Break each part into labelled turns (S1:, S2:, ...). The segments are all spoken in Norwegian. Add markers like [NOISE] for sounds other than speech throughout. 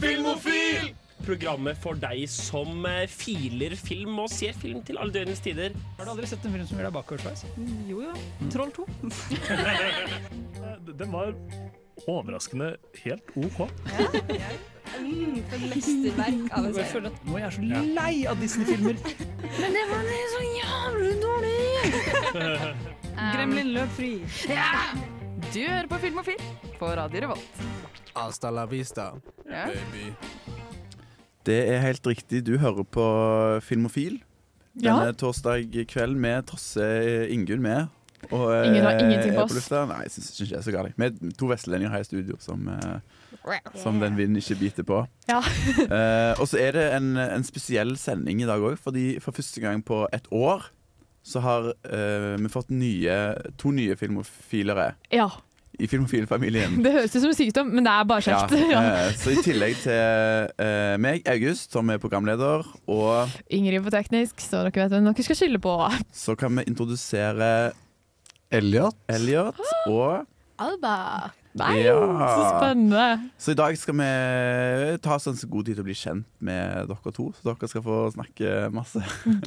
S1: Filmofil! Programmet for deg som eh, filer film og ser film til alle døgnets tider.
S2: Har du aldri sett en film som gjør deg bakoversveis?
S3: Jo, jo. Troll 2.
S4: Eh, Den var overraskende helt OK.
S5: Mm, for et mesterverk av en
S2: Jeg
S5: serie.
S2: føler at nå er jeg så lei av Disney-filmer.
S6: Men det var så jævlig dårlig!
S3: Gremlin løp fri.
S6: Du hører på Filmofil på Radio Revolt.
S7: Hasta la vista,
S6: Ja.
S7: baby.
S8: Det er helt riktig. Du hører på Filmofil denne torsdag kveld med Trosse Ingunn med. Og, eh,
S6: Ingen har ingenting på
S8: er
S6: oss.
S8: lufta. Nei, jeg syns ikke jeg er så galt. Med to vestlendinger her i studio som, eh, som den vinden ikke biter på.
S6: Ja.
S8: [LAUGHS] Eh, og så er det en, en spesiell sending i dag òg, fordi for første gang på et år så har eh, vi fått nye, to nye filmofilere
S9: Ja,
S8: i Filmofilfamilien.
S9: det høres ut som en sykdom, men det er bare kjeft. [LAUGHS] Ja.
S8: eh, så i tillegg til eh, meg, August, som er programleder, og
S9: Ingrid på teknisk, så dere vet hvem dere skal skylde på.
S8: Så kan vi introdusere
S7: Elliot.
S8: Elliot
S9: Ah.
S8: og
S6: Alba.
S9: Nei,
S8: Ja.
S9: så spennende.
S8: Så i dag skal vi ta oss en så god tid til å bli kjent med dere to. Så dere skal få snakke masse.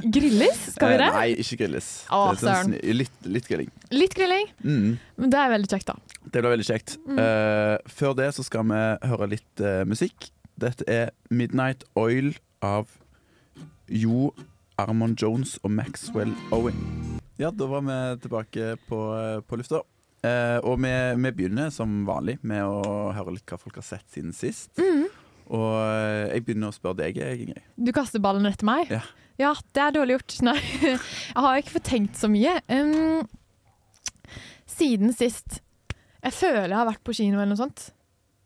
S9: Grillis, skal vi
S8: Eh,
S9: det?
S8: Nei, ikke grilles.
S9: Å,
S8: Det er sånn
S9: søren.
S8: sni- litt, litt grilling.
S9: Litt grilling,
S8: Mm.
S9: men det er veldig kjekt, da.
S8: Det blir veldig kjekt. Eh, før det så skal vi høre litt eh, musikk. Dette er Midnight Oil av Jo Armond Jones og Maxwell Owen. Ja, da var vi tilbake på, på lufta. Eh, og vi, vi begynner som vanlig med å høre litt hva folk har sett siden sist. Og eh, jeg begynner å spørre deg, jeg, Ingrid.
S9: Du kaster ballen etter meg?
S8: Ja.
S9: Ja, det er dårlig gjort. Nei, [LAUGHS] jeg har ikke fått tenkt så mye. Um, siden sist. Jeg føler jeg har vært på kino eller noe sånt.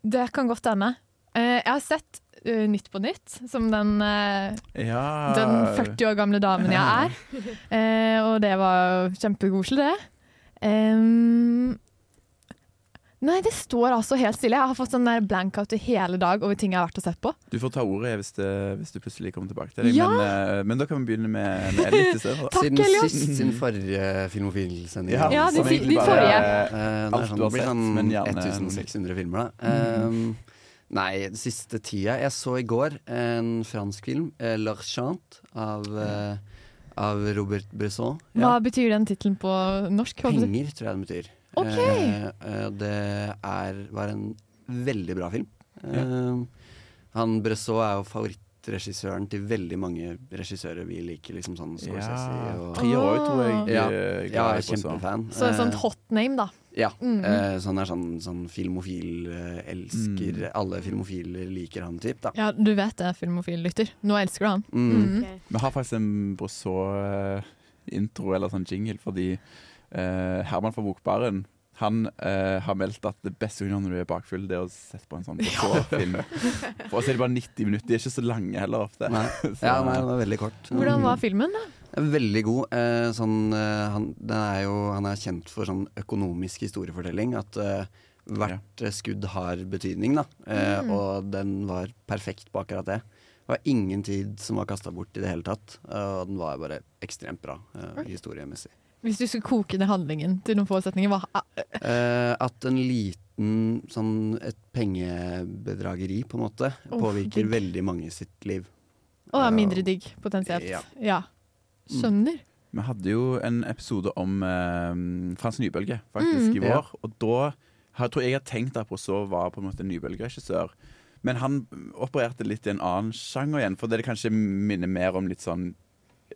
S9: Det kan godt hende. Eh, jeg har sett eh, Nytt på nytt, som den eh,
S8: Ja.
S9: den 40 år gamle damen jeg
S7: [LAUGHS]
S9: er. Eh, og det var jo kjempekoselig, det. Em, nei, det står altså helt stille. Jeg har fått sånn der blank-out i hele dag over ting jeg har vært og sett på.
S8: Du får ta ordet hvis, det, hvis du plutselig kommer tilbake til det.
S9: Ja.
S8: Men, eh, men da kan vi begynne med, med Elliot istedenfor.
S9: Takk,
S7: Siden
S9: Elliot.
S7: sist, siden forrige Filmofil-sending.
S8: Ja,
S9: Ja, de
S8: som
S9: fi-
S8: egentlig
S9: de
S8: bare-
S9: forrige.
S7: Eh,
S8: Alt
S7: det er sånn,
S8: du har
S7: det blir
S8: sett,
S7: sånn
S8: men gjerne-
S7: 1600 filmer, da.
S9: Mm.
S7: Ehm, nei, den siste tida Jeg så i går en fransk film, eh, 'L'Archant', av, eh, av Robert Bresson.
S9: Hva betyr den tittelen på norsk? håper jeg?
S7: Penger, tror jeg den betyr.
S9: Ok.
S7: Eh, eh, det er, var en veldig bra film. Eh, han Bresson er jo favorittregissøren til veldig mange regissører vi liker, liksom sånn Scorsese og
S8: Tre år, tror jeg.
S7: Ja.
S8: eh,
S7: Ja,
S8: glad i på sånn.
S7: kjempefan.
S9: Så et sånt
S7: Eh,
S9: hot name, da.
S7: Ja.
S9: Mm.
S7: eh, så han er sånn, sånn filmofil, eh, elsker
S8: Mm.
S7: Alle filmofile liker han typ, da.
S9: Ja, du vet det, filmofil lytter. Nå elsker du han.
S8: [LAUGHS]
S7: Mm.
S8: Vi har faktisk en Brosseau-intro eller sånn jingle, fordi eh, Herman fra Bokbaren han eh, har meldt at det beste å gjøre når du er bakfull, det er å sette på en [LAUGHS] sånn Brosseau-film. For så er det bare 90 minutter. De er ikke så lange heller ofte.
S7: Nei.
S8: Så-
S7: Ja, nei, den var veldig kort. Mm.
S9: Hvordan var filmen, da?
S7: Veldig god. Eh, sånn, eh, han, den er jo, han er kjent for sånn økonomisk historiefortelling. At eh, hvert eh, skudd har betydning, da. Eh,
S9: Mm.
S7: Og den var perfekt på akkurat det. Det var ingen tid som var kasta bort i det hele tatt. eh, Og den var bare ekstremt bra eh, historiemessig.
S9: Hvis du skulle koke ned handlingen til noen få setninger, hva ah,
S7: Eh, at en liten sånn et pengebedrageri, på en måte,
S9: Åh,
S7: påvirker
S9: digg.
S7: veldig mange sitt liv.
S9: Å, det er mindre digg, potensielt.
S7: Ja.
S9: Ja. Skjønner.
S8: Vi hadde jo en episode om eh, Frans Nybølge faktisk i
S7: Ja.
S8: vår. Og da har, tror jeg jeg har tenkt at Brosseau var på en måte Nybølge-regissør. Men han opererte litt i en annen sjanger igjen, for det det kanskje minner mer om litt sånn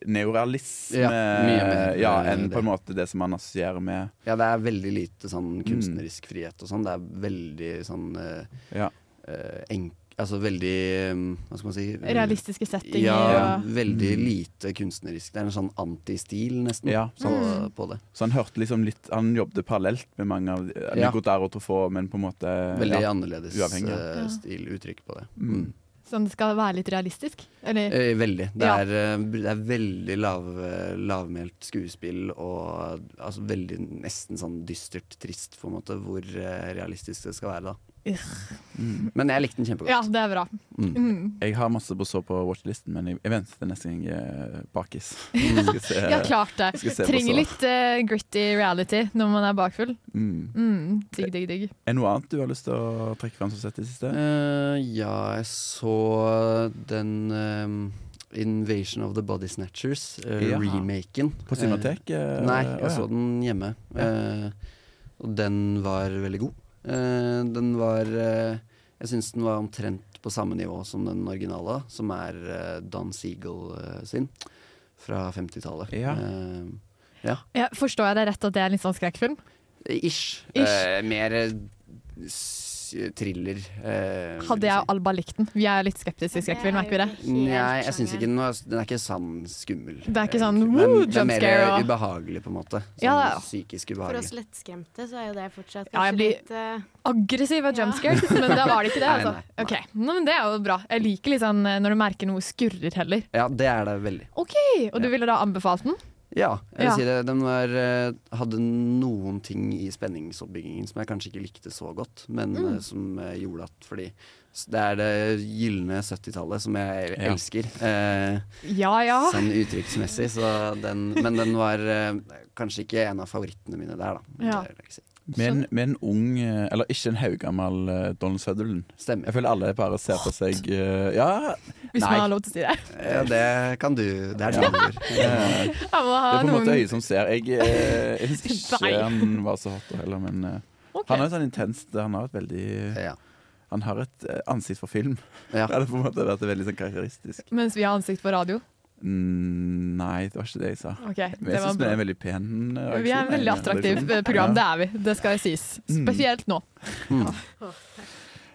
S8: neorealisme eh,
S7: Ja, mye mer. eh,
S8: ja, enn på en måte det som man assosierer med
S7: Ja, det er veldig lite sånn
S9: Mm.
S7: kunstnerisk frihet og sånn. Det er veldig sånn eh,
S8: ja.
S7: eh, enk... Altså veldig eh, Hva skal man si? eh,
S9: Realistiske settinger
S7: Ja,
S9: og
S7: veldig lite kunstnerisk. Det er en sånn antistil, nesten,
S8: Mm. Ja,
S7: på,
S9: Mm.
S7: på det.
S8: Så han hørte liksom litt Han jobbet parallelt med mange av ja.
S7: Ja.
S8: Nigodar og Truffaut, men på en måte
S7: Veldig
S8: Eh, ja.
S7: annerledes
S8: uavhengig, ja.
S7: eh,
S9: Ja.
S7: stil, uttrykk på det.
S8: Mm.
S9: Sånn det skal være litt realistisk? Eller
S7: Eh, Veldig. Det
S9: Ja.
S7: er, eh, det er veldig lav, eh, lavmælt skuespill og altså, veldig nesten sånn dystert, trist, på en måte, hvor eh, realistisk det skal være. da Men jeg likte den
S9: Ja,
S7: kjempegodt.
S9: det er bra.
S7: Mm.
S9: Mm.
S8: Mm. Jeg har masse på så på watchlisten, men jeg, jeg venter til neste gang jeg er bakis.
S7: Mm.
S8: [LAUGHS] Skal se.
S9: Ja, klart det.
S8: Eh, Skal se på
S9: Trenger
S8: så.
S9: litt eh, gritty reality når man er bakfull.
S8: Mm.
S9: Mm. Digg, digg, digg.
S8: Er det noe annet du har lyst til å trekke fram som sett i det siste?
S7: Eh, ja, jeg så den ehm, Invasion of the Body Snatchers, eh,
S8: Ja.
S7: remaken.
S8: På Cinemateket?
S7: Eh, nei, jeg så den hjemme. Eh, og den var veldig god. Eh, den var eh, Jeg syns den var omtrent på samme nivå som den originale, som er eh, Dan Siegel eh, sin, fra 50-tallet.
S8: Ja.
S7: Eh,
S9: Ja, forstår jeg det rett at det er en litt sånn skrekkfilm?
S7: Ish.
S9: Ish.
S7: Eh, mer eh, s- thriller. eh, vil
S9: Hadde jeg
S7: si.
S9: og Alba likt den? Vi er jo litt skeptiske til skrekkfilm, er ikke vi det?
S7: Nei, jeg syns ikke den, var, den er ikke sann skummel.
S9: Det er ikke sånn,
S7: egentlig.
S9: woo,
S7: Den- Den er
S9: jumpscare
S7: mer
S9: og-
S7: ubehagelig, på en måte. Sånn
S9: Ja, ja.
S7: psykisk
S5: For oss
S7: ubehagelig.
S5: lettskremte så er jo det
S9: Ja,
S5: fortsatt
S9: jeg
S5: kanskje
S9: blir-
S5: litt eh,
S9: Aggressiv og
S5: Ja.
S9: jumpscares, men da var
S8: [LAUGHS]
S9: det ikke det.
S7: Nei,
S9: Altså.
S7: nei, nei.
S9: Ok, Nå, men Det er jo bra. Jeg liker litt sånn eh, når du merker noe skurrer heller.
S7: Ja, det er det veldig.
S9: OK, Og du
S7: Ja.
S9: ville da anbefalt den?
S7: Ja, jeg vil
S9: Ja.
S7: si det. Den var, eh, hadde noen ting i spenningsoppbyggingen som jeg kanskje ikke likte så godt, men
S9: Mm.
S7: eh, som eh, gjorde at Fordi s- det er det gylne 70-tallet som jeg
S8: Ja.
S7: elsker. Eh,
S9: Ja ja.
S7: Sånn uttrykksmessig. Så den, men den var eh, kanskje ikke en av favorittene mine der, da.
S9: Ja.
S7: Det vil jeg si.
S8: Med en, med en ung, eh, eller ikke en haugammal eh, Donald Sutherland.
S7: Stemmer.
S8: Jeg føler alle bare ser på seg eh, Ja,
S9: Hvis
S8: Nei.
S9: man har lov til å si det. [LAUGHS]
S7: Ja, det kan du. Det
S8: [LAUGHS]
S7: er
S8: Ja.
S7: det du gjør.
S8: eh,
S9: Jeg må ha
S8: Det er på en måte
S9: Ah, noen-
S8: øyet som ser. Jeg, eh, jeg syns
S9: [LAUGHS] Nei.
S8: ikke han var så hot heller, men eh,
S9: Ok.
S8: han er sånn intens. Han har et veldig
S7: Ja.
S8: Han har et eh, ansikt for film.
S7: Ja.
S8: Det hadde på en måte vært veldig sånn karakteristisk.
S9: Mens vi har ansikt på radio.
S8: Mm, nei, det var ikke det jeg sa.
S9: Ok,
S8: Men
S9: det
S8: jeg
S9: var
S8: syns vi er
S9: bra.
S8: en veldig pen eh,
S9: Vi er
S8: aksjon,
S9: et veldig
S8: eh,
S9: attraktivt
S8: redaksjon.
S9: eh, program, det
S8: Ja. Mm.
S9: er vi. Det skal sies. Spesielt nå.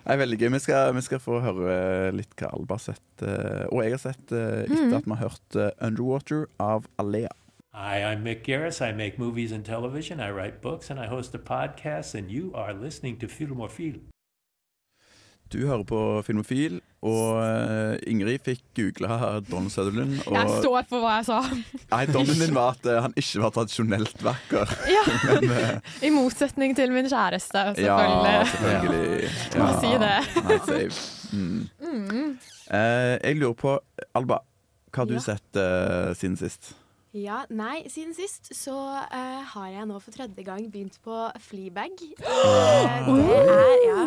S8: Det er veldig gøy. Vi skal, vi skal få høre eh, litt hva Alba har sett, eh, og jeg har sett, eh,
S9: Mhm.
S8: etter at vi har hørt eh, 'Underwater' av Alea.
S10: Hi, I'm Mick Garris. I make movies and television. I write books and I host a podcast. And you are listening to Filmorfil.
S8: Du hører på Filmofil, og eh, Ingrid fikk googla Donald Sutherland. Og
S9: Jeg står for hva jeg sa.
S8: Nei, dommen din var at eh, han ikke var tradisjonelt vakker.
S9: [LAUGHS]
S8: eh,
S9: Ja. [LAUGHS] I motsetning til min kjæreste,
S8: Ja, selvfølgelig.
S9: selvfølgelig. [LAUGHS] Må si det.
S8: Nei, safe. Mm. Eh, jeg lurer på, Alba, hva har du
S5: Ja.
S8: sett eh, siden sist?
S5: Ja, nei, siden sist så eh, har jeg nå for tredje gang begynt på Fleabag. Eh, det er, ja.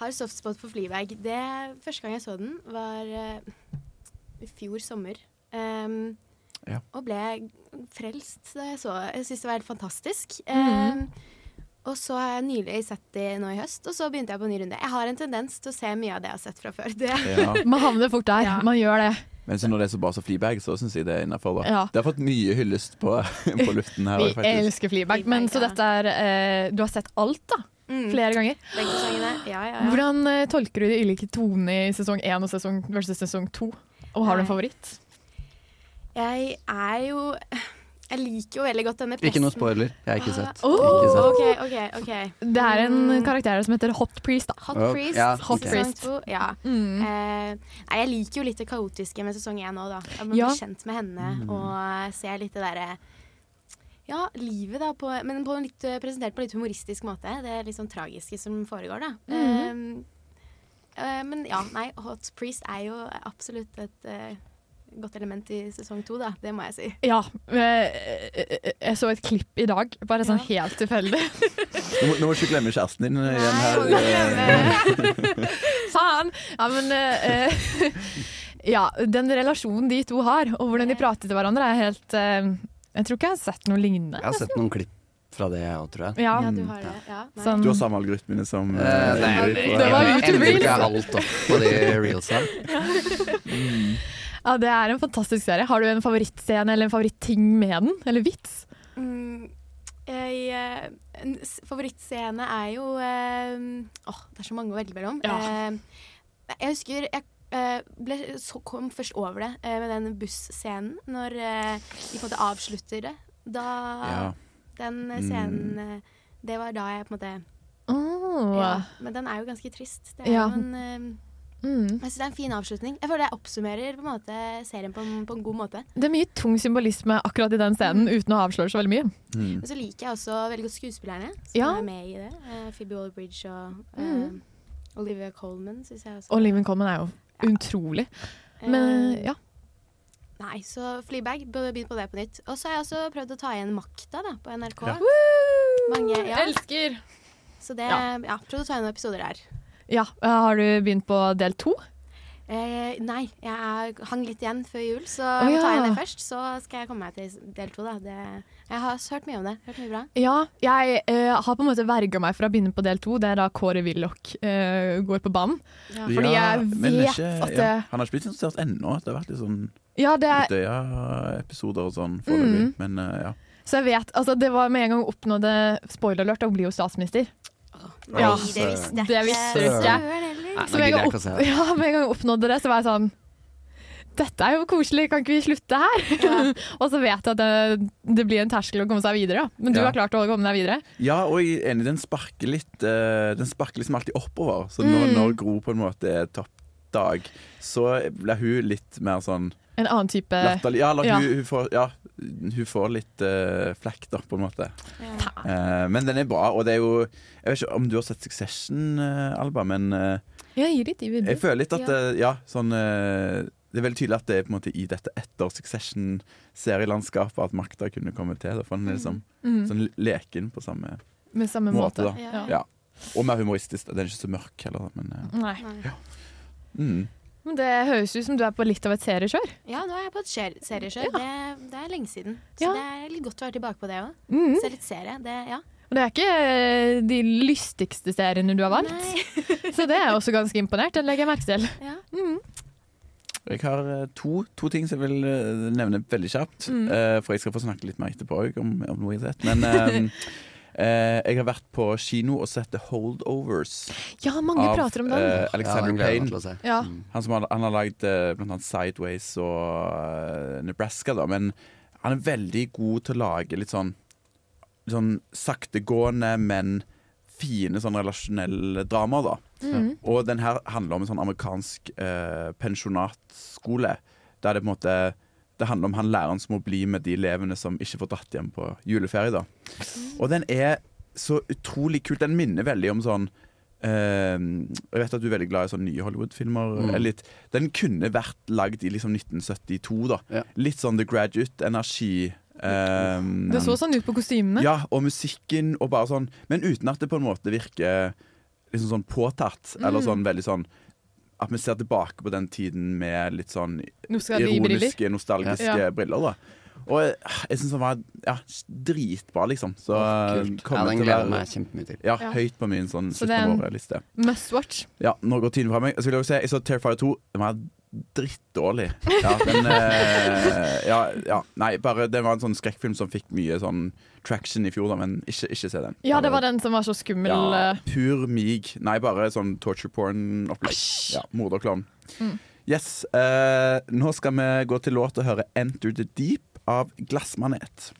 S5: Har softspot for Fleabag. Det, første gang jeg så den var eh, i fjor sommer. Em,
S8: Ja.
S5: Og ble frelst da jeg så Jeg syntes det var helt fantastisk. Em, og så har jeg nylig sett de nå i høst, og så begynte jeg på en ny runde. Jeg har en tendens til å se mye av det jeg har sett fra før. Det
S8: Ja.
S9: Man havner fort der.
S5: Ja.
S9: Man gjør det.
S8: Men så når det er så bra som Fleabag, så syns jeg det er innafor.
S9: Ja.
S8: Det har fått mye hyllest på, [LAUGHS] på luften her.
S9: Vi
S8: faktisk.
S9: elsker Fleabag, men så
S5: ja.
S9: dette er eh, Du har sett alt, da.
S5: Mm.
S9: Flere ganger.
S5: Begge sesongene. Ja, ja, ja.
S9: Hvordan eh, tolker du de ulike tonene i sesong én og sesong, versus sesong to? Og har du en
S5: Nei.
S9: favoritt?
S5: Jeg er jo Jeg liker jo veldig godt denne presten.
S7: Ikke noe spoiler. Jeg har ikke sett.
S9: Oh!
S7: Ikke sett.
S5: OK, OK. ok Mm.
S9: Det er en karakter som heter Hot Priest, da.
S5: Hot
S7: Oh,
S5: priest.
S7: ja,
S5: sesong
S9: Hot priest.
S5: to, Ja.
S9: Mm.
S5: Eh, nei, jeg liker jo litt det kaotiske med sesong én òg, da. At man
S9: Ja.
S5: blir kjent med henne
S7: Mm.
S5: og ser litt det derre ja, livet, da, på, men på en litt, eh, presentert på en litt humoristisk måte. Det er litt sånn tragiske som foregår, da.
S9: Mm.
S5: Eh, eh, men ja, nei, Hot Priest er jo absolutt et eh, godt element i sesong to, da. Det må jeg si.
S9: Ja. eh, eh, Jeg så et klipp i dag, bare sånn helt tilfeldig. [LAUGHS]
S8: Nå må, nå må du ikke glemme kjæresten din eh, igjen her.
S5: Nei, jeg må glemme.
S9: Faen! Ja, men eh, eh, [LAUGHS] Ja, den relasjonen de to har, og hvordan de prater til hverandre, er helt eh, Jeg tror ikke jeg har sett noe lignende.
S7: Jeg har sett noen klipp fra det, jeg òg, tror jeg.
S9: Ja,
S5: Ja, du har det. Ja, nei.
S9: sånn
S8: Du har samme algoritmene som eh,
S7: Eh, nei,
S8: Ingrid.
S7: jeg-
S9: Det var
S7: jeg
S9: YouTube
S7: ender
S9: Reels.
S7: ikke alt opp på de reelsa.
S9: Ja, det er en fantastisk serie. Har du en favorittscene eller en favoritting med den? Eller vits?
S5: Mm, jeg, eh, en s- favorittscene er jo eh, Åh, det er så mange å velge mellom.
S9: Ja.
S5: Eh, nei, jeg husker jeg eh, ble, så kom først over det eh, med den busscenen, når eh, de på en måte avslutter det. Da
S8: Ja. Mm.
S5: Den eh, scenen eh, Det var da jeg på en måte
S9: Åh.
S5: ja, Men den er jo ganske trist. Det er
S9: Ja.
S5: jo en eh,
S9: Mm.
S5: Jeg synes det er en fin avslutning. Jeg føler jeg oppsummerer på en måte serien på en, på en god måte.
S9: Det er mye tung symbolisme akkurat i den scenen, uten å avsløre så veldig mye.
S8: Mm.
S5: Men så liker jeg også veldig godt skuespillerne som
S9: Ja.
S5: er med i det. Eh, Phoebe Waller-Bridge og eh,
S9: Mm.
S5: Olivia Colman synes jeg også.
S9: Og Liven Colman er jo utrolig.
S5: Eh,
S9: Men ja.
S5: Nei, så Fleabag, be- begynn på det på nytt. Og så har jeg også prøvd å ta igjen makta da, på NRK.
S4: Ja.
S5: Mange, ja.
S9: Elsker!
S5: Så det, ja.
S9: Ja.
S5: prøvd å ta igjen noen episoder der.
S9: Ja, eh, Har du begynt på del to?
S5: Eh, nei, jeg er- hang litt igjen før jul, så
S9: Å,
S5: jeg må ta
S9: ja.
S5: igjen det først. Så skal jeg komme meg til del to, da. Det, jeg har hørt mye om det. Hørt mye bra.
S9: Ja, jeg eh, har på en måte verga meg fra å begynne på del to, der da Kåre Willoch eh, går på banen.
S5: Ja.
S9: Fordi jeg
S8: men det er
S9: vet at det-
S8: ja, Han har ikke blitt interessert ennå. Det har vært litt sånn
S9: Ja, det er
S8: Utøya-episoder og sånn foreløpig.
S9: Mm.
S8: Men eh, ja.
S9: Så jeg vet, altså det var med en gang hun oppnådde spoiler alert, hun blir jo statsminister.
S5: Nei,
S9: Ja.
S5: det visste jeg ikke.
S9: Det visste du ikke.
S5: Søren heller.
S9: Så med en,
S7: nå gidder jeg
S9: gang
S7: ikke å se
S9: opp, [LAUGHS]
S7: det.
S9: ja, med en gang hun oppnådde det, så var jeg sånn Dette er jo koselig, kan ikke vi slutte her?
S5: Ja.
S9: og så vet jeg at det, det blir en terskel å komme seg videre, da. Men du
S8: Ja.
S9: har klart å komme deg videre?
S8: ja, og jeg er enig, den sparker litt eh, Den sparker liksom alltid oppover. Så når,
S9: Mm.
S8: når Gro på en måte er toppdag, så blir hun litt mer sånn
S9: En annen type
S8: latterlig. Ja, eller
S9: Eh, ja.
S8: Hun, hun, får, ja hun får litt uh, flekk, da, på en måte.
S9: [LAUGHS]
S5: Ja.
S8: Eh, men den er bra, og det er jo Jeg vet ikke om du har sett Succession, eh, Alba, men eh,
S9: Ja, gi litt i
S8: Jeg
S9: videre.
S8: føler litt at
S5: Ja.
S8: eh, Ja, sånn eh, Det er veldig tydelig at det er på en måte i dette etter Succession-serielandskapet at makta kunne komme til. Da, for den er liksom
S9: Mm,
S8: sånn leken på samme
S9: med samme
S8: måte,
S9: måte.
S8: da.
S5: Ja.
S8: Ja. Og mer humoristisk. da. Den er ikke så mørk heller, da, men eh,
S9: Nei.
S5: Nei.
S8: mm.
S9: Men det høres ut som du er på litt av et seriekjør.
S5: Ja, nå er jeg på et skjer- serieskjør. Det, det er lenge siden. Så
S9: Ja.
S5: det er litt godt å være tilbake på det òg.
S9: Mm.
S5: Se litt serie. Det, ja.
S9: Og det er ikke eh, de lystigste seriene du har valgt,
S5: Nei.
S9: så det er jeg også ganske imponert. Den legger jeg merke til.
S5: Ja.
S8: Jeg har eh, to, to ting som jeg vil eh, nevne veldig kjapt.
S9: Mm.
S8: eh, for jeg skal få snakke litt mer etterpå òg om, om noe jeg har sett. Men
S9: [LAUGHS]
S8: eh, eh, jeg har vært på kino og sett The Holdovers
S9: Ja, mange prater om den.
S8: eh, Alexander
S7: den gleder jeg meg
S8: Payne.
S7: til å se. Mm.
S9: ja.
S8: Han som har, han har lagd eh, blant annet Sideways og eh, Nebraska, da. Men han er veldig god til å lage litt sånn, sånn saktegående, men fine sånn relasjonelle dramaer, da.
S9: Mhm.
S8: Og den her handler om en sånn amerikansk eh, pensjonatskole. Der det på en måte Det handler om han læreren som må bli med de elevene som ikke får dratt hjem på juleferie. da
S9: Mm.
S8: Og den er så utrolig kult. Den minner veldig om sånn eh, Jeg vet at du er veldig glad i sånne nye Hollywood-filmer.
S7: Mm.
S8: eller litt- Den kunne vært lagd i liksom 1972. da
S7: Ja.
S8: Litt sånn The Graduate-energi. eh,
S9: Det så sånn ut på kostymene.
S8: ja, og musikken og bare sånn Men uten at det på en måte virker liksom sånn påtatt.
S9: Mm.
S8: Eller sånn veldig sånn At vi ser tilbake på den tiden med litt sånn
S9: Nå skal de i briller.
S8: ironiske, nostalgiske
S9: Ja.
S8: briller. da Og jeg, jeg syns den var ja, dritbra, liksom. Så
S7: Kult. Ja,
S8: kommer
S7: den
S8: til å
S7: gleder
S8: være-
S7: jeg meg kjempemye til.
S8: Ja,
S9: Ja.
S8: høyt på min sånn
S9: Så den-
S8: sluttmåleliste.
S9: Must watch.
S8: Ja, nå går tiden fra meg. Så vil jeg, også si, jeg så Terrifier 2. Den var drittdårlig. Ja, den, eh, ja, ja, nei, bare, det var en sånn skrekkfilm som fikk mye sånn traction i fjor, da, men ikke, ikke se den.
S9: Ja, det var den som var så skummel.
S8: Ja,
S9: eh,
S8: pur mig. Nei, bare sånn torture porn-opplegg. Ja, Morderklovn.
S9: Mm.
S8: Yes. eh, nå skal vi gå til låt og høre 'Enter the Deep' av Glassmanet.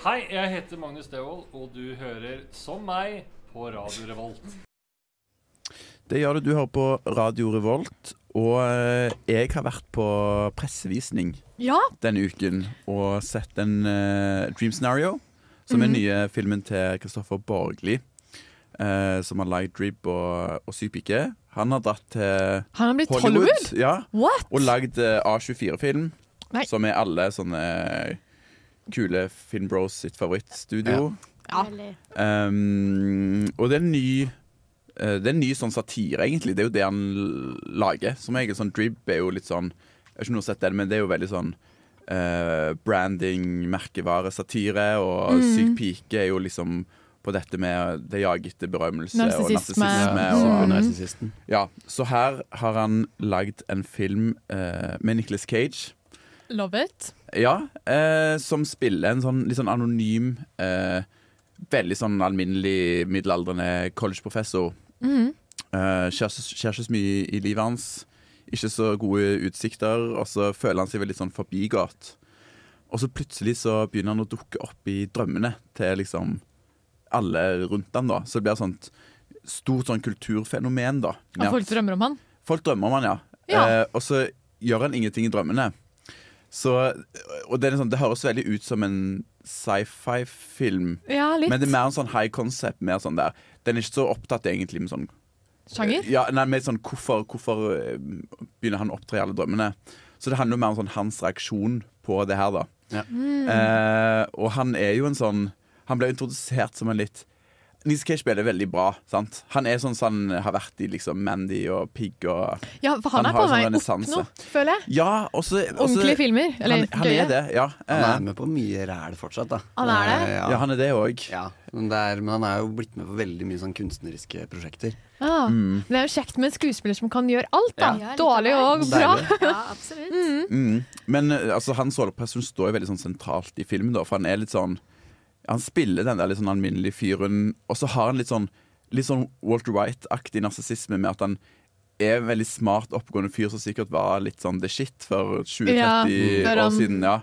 S10: Hei, jeg heter Magnus Devold, og du hører, som meg, på Radio
S4: [LAUGHS]
S10: Revolt.
S8: Det gjør det. Du hører på Radio Revolt, og eh, jeg har vært på pressevisning
S9: Ja,
S8: denne uken og sett en eh, Dream Scenario, som er
S9: Mhm.
S8: nye filmen til Kristoffer Borgli, eh, som har lagd Drib og, og Syk pike. Han har dratt til
S9: han har blitt
S8: Hollywood,
S9: Hollywood.
S8: Ja,
S9: What?
S8: og lagd eh, A24-film,
S9: Nei.
S8: som er alle sånne kule Finn Bros sitt favorittstudio.
S9: Ja.
S5: Veldig-
S8: Um, og det er en ny eh, Det er en ny sånn satire, egentlig. Det er jo det han l- lager. Som regel sånn drib er jo litt sånn Jeg har ikke noe sett den, men det er jo veldig sånn eh, branding, merkevare, satire. Og
S9: Mm.
S8: Syk pike er jo liksom på dette med det jager etter berømmelse og
S9: Narsissisme.
S8: narsissisme.
S9: Ja,
S8: Og,
S9: Mhm.
S7: Supernarsissisten.
S8: ja, så her har han lagd en film eh, med Nicolas Cage.
S9: Love it.
S8: Ja, eh, som spiller en sånn litt sånn anonym, eh, veldig sånn alminnelig middelaldrende collegeprofessor.
S9: Mhm.
S8: Eh, Skjer skjer ikke så mye i livet hans. Ikke så gode utsikter, og så føler han seg veldig sånn forbigått. Og så plutselig så begynner han å dukke opp i drømmene til liksom alle rundt han da. Så det blir sånt stort sånn kulturfenomen, da.
S9: At
S8: Ja.
S9: folk drømmer om han.
S8: Folk drømmer om han, ja.
S9: Ja.
S8: Eh, og så gjør han ingenting i drømmene. Så, og det, er liksom, det høres veldig ut som en sci-fi-film.
S9: Ja, litt.
S8: Men det er mer en sånn high concept. Mer sånn der. Den er ikke så opptatt egentlig med sånn
S9: Sjanger?
S8: Ja, nei, med sånn hvorfor, hvorfor eh, begynner han å opptre i alle drømmene? Så det handler jo mer om sånn hans reaksjon på det her, da.
S7: Ja.
S9: Mm.
S8: Eh, og han er jo en sånn Han ble introdusert som en litt Nils Cage spiller veldig bra. sant? Han er sånn som han har vært i liksom Mandy og Pigg og
S9: Ja, for han,
S8: Han
S9: er på
S8: har sånn
S9: vei opp
S8: renessanse.
S9: nå, føler jeg.
S8: Ja, også, også
S9: Ordentlige filmer. Eller
S8: han, han
S9: gøye.
S8: er det, ja.
S7: Han er
S8: Eh,
S7: med på mye ræl fortsatt, da.
S9: Han er det?
S7: Eh,
S8: ja, han er det òg.
S7: Ja, men, det er, men han er jo blitt med på veldig mye sånn kunstneriske prosjekter.
S9: Ja.
S8: Mm.
S9: Men Ah. Det er jo kjekt med en skuespiller som kan gjøre alt, da.
S5: Ja, litt
S9: Dårlig
S5: av
S9: og bra.
S5: Ja, absolutt.
S8: Mm. Men eh, altså, hans rolleperson står jo veldig sånn sentralt i filmen, da, for han er litt sånn Han spiller den der litt sånn alminnelige fyren, og så har han litt sånn Litt sånn Walter White-aktig narsissisme med at han er en veldig smart, oppegående fyr som sikkert var litt sånn the shit for 20-30
S9: Ja, før
S8: år
S9: han
S8: siden. Ja.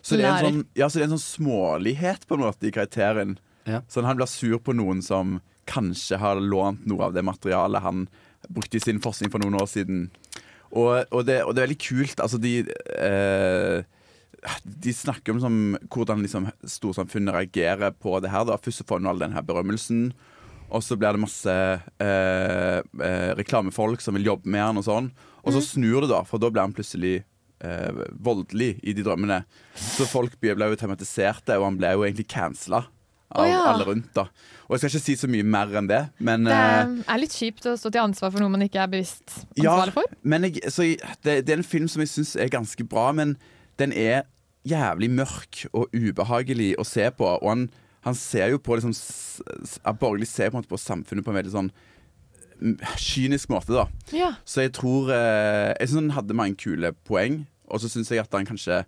S8: Så, det er en
S9: lærer.
S8: sånn, ja, så det er en sånn smålighet på en måte i karakteren.
S7: Ja.
S8: Sånn, han blir sur på noen som kanskje har lånt noe av det materialet han brukte i sin forskning for noen år siden. Og, og, det, og det er veldig kult. Altså, de eh, De snakker om som, hvordan liksom, storsamfunnet reagerer på det her. Da. Først så får han all den her berømmelsen. Og så blir det masse eh, eh, reklamefolk som vil jobbe med han og sånn. Og så
S9: Mm.
S8: snur det, da, for da blir han plutselig eh, voldelig i de drømmene. Så folk ble ble jo tematiserte, og han ble jo egentlig cancela av
S9: Å, ja.
S8: alle rundt. da Og jeg skal ikke si så mye mer enn det, men
S9: Det
S8: eh,
S9: er litt kjipt å stå til ansvar for noe man ikke er bevisst
S8: ja,
S9: ansvarlig for.
S8: men jeg, så jeg, det, det er en film som jeg syns er ganske bra, men den er jævlig mørk og ubehagelig å se på. Og han, han ser jo på liksom, s- s- at Borgerlig ser på, en måte på samfunnet på en veldig sånn mm, kynisk måte, da.
S9: Ja.
S8: Så jeg tror eh, Jeg syns han hadde mange kule poeng, og så syns jeg at han kanskje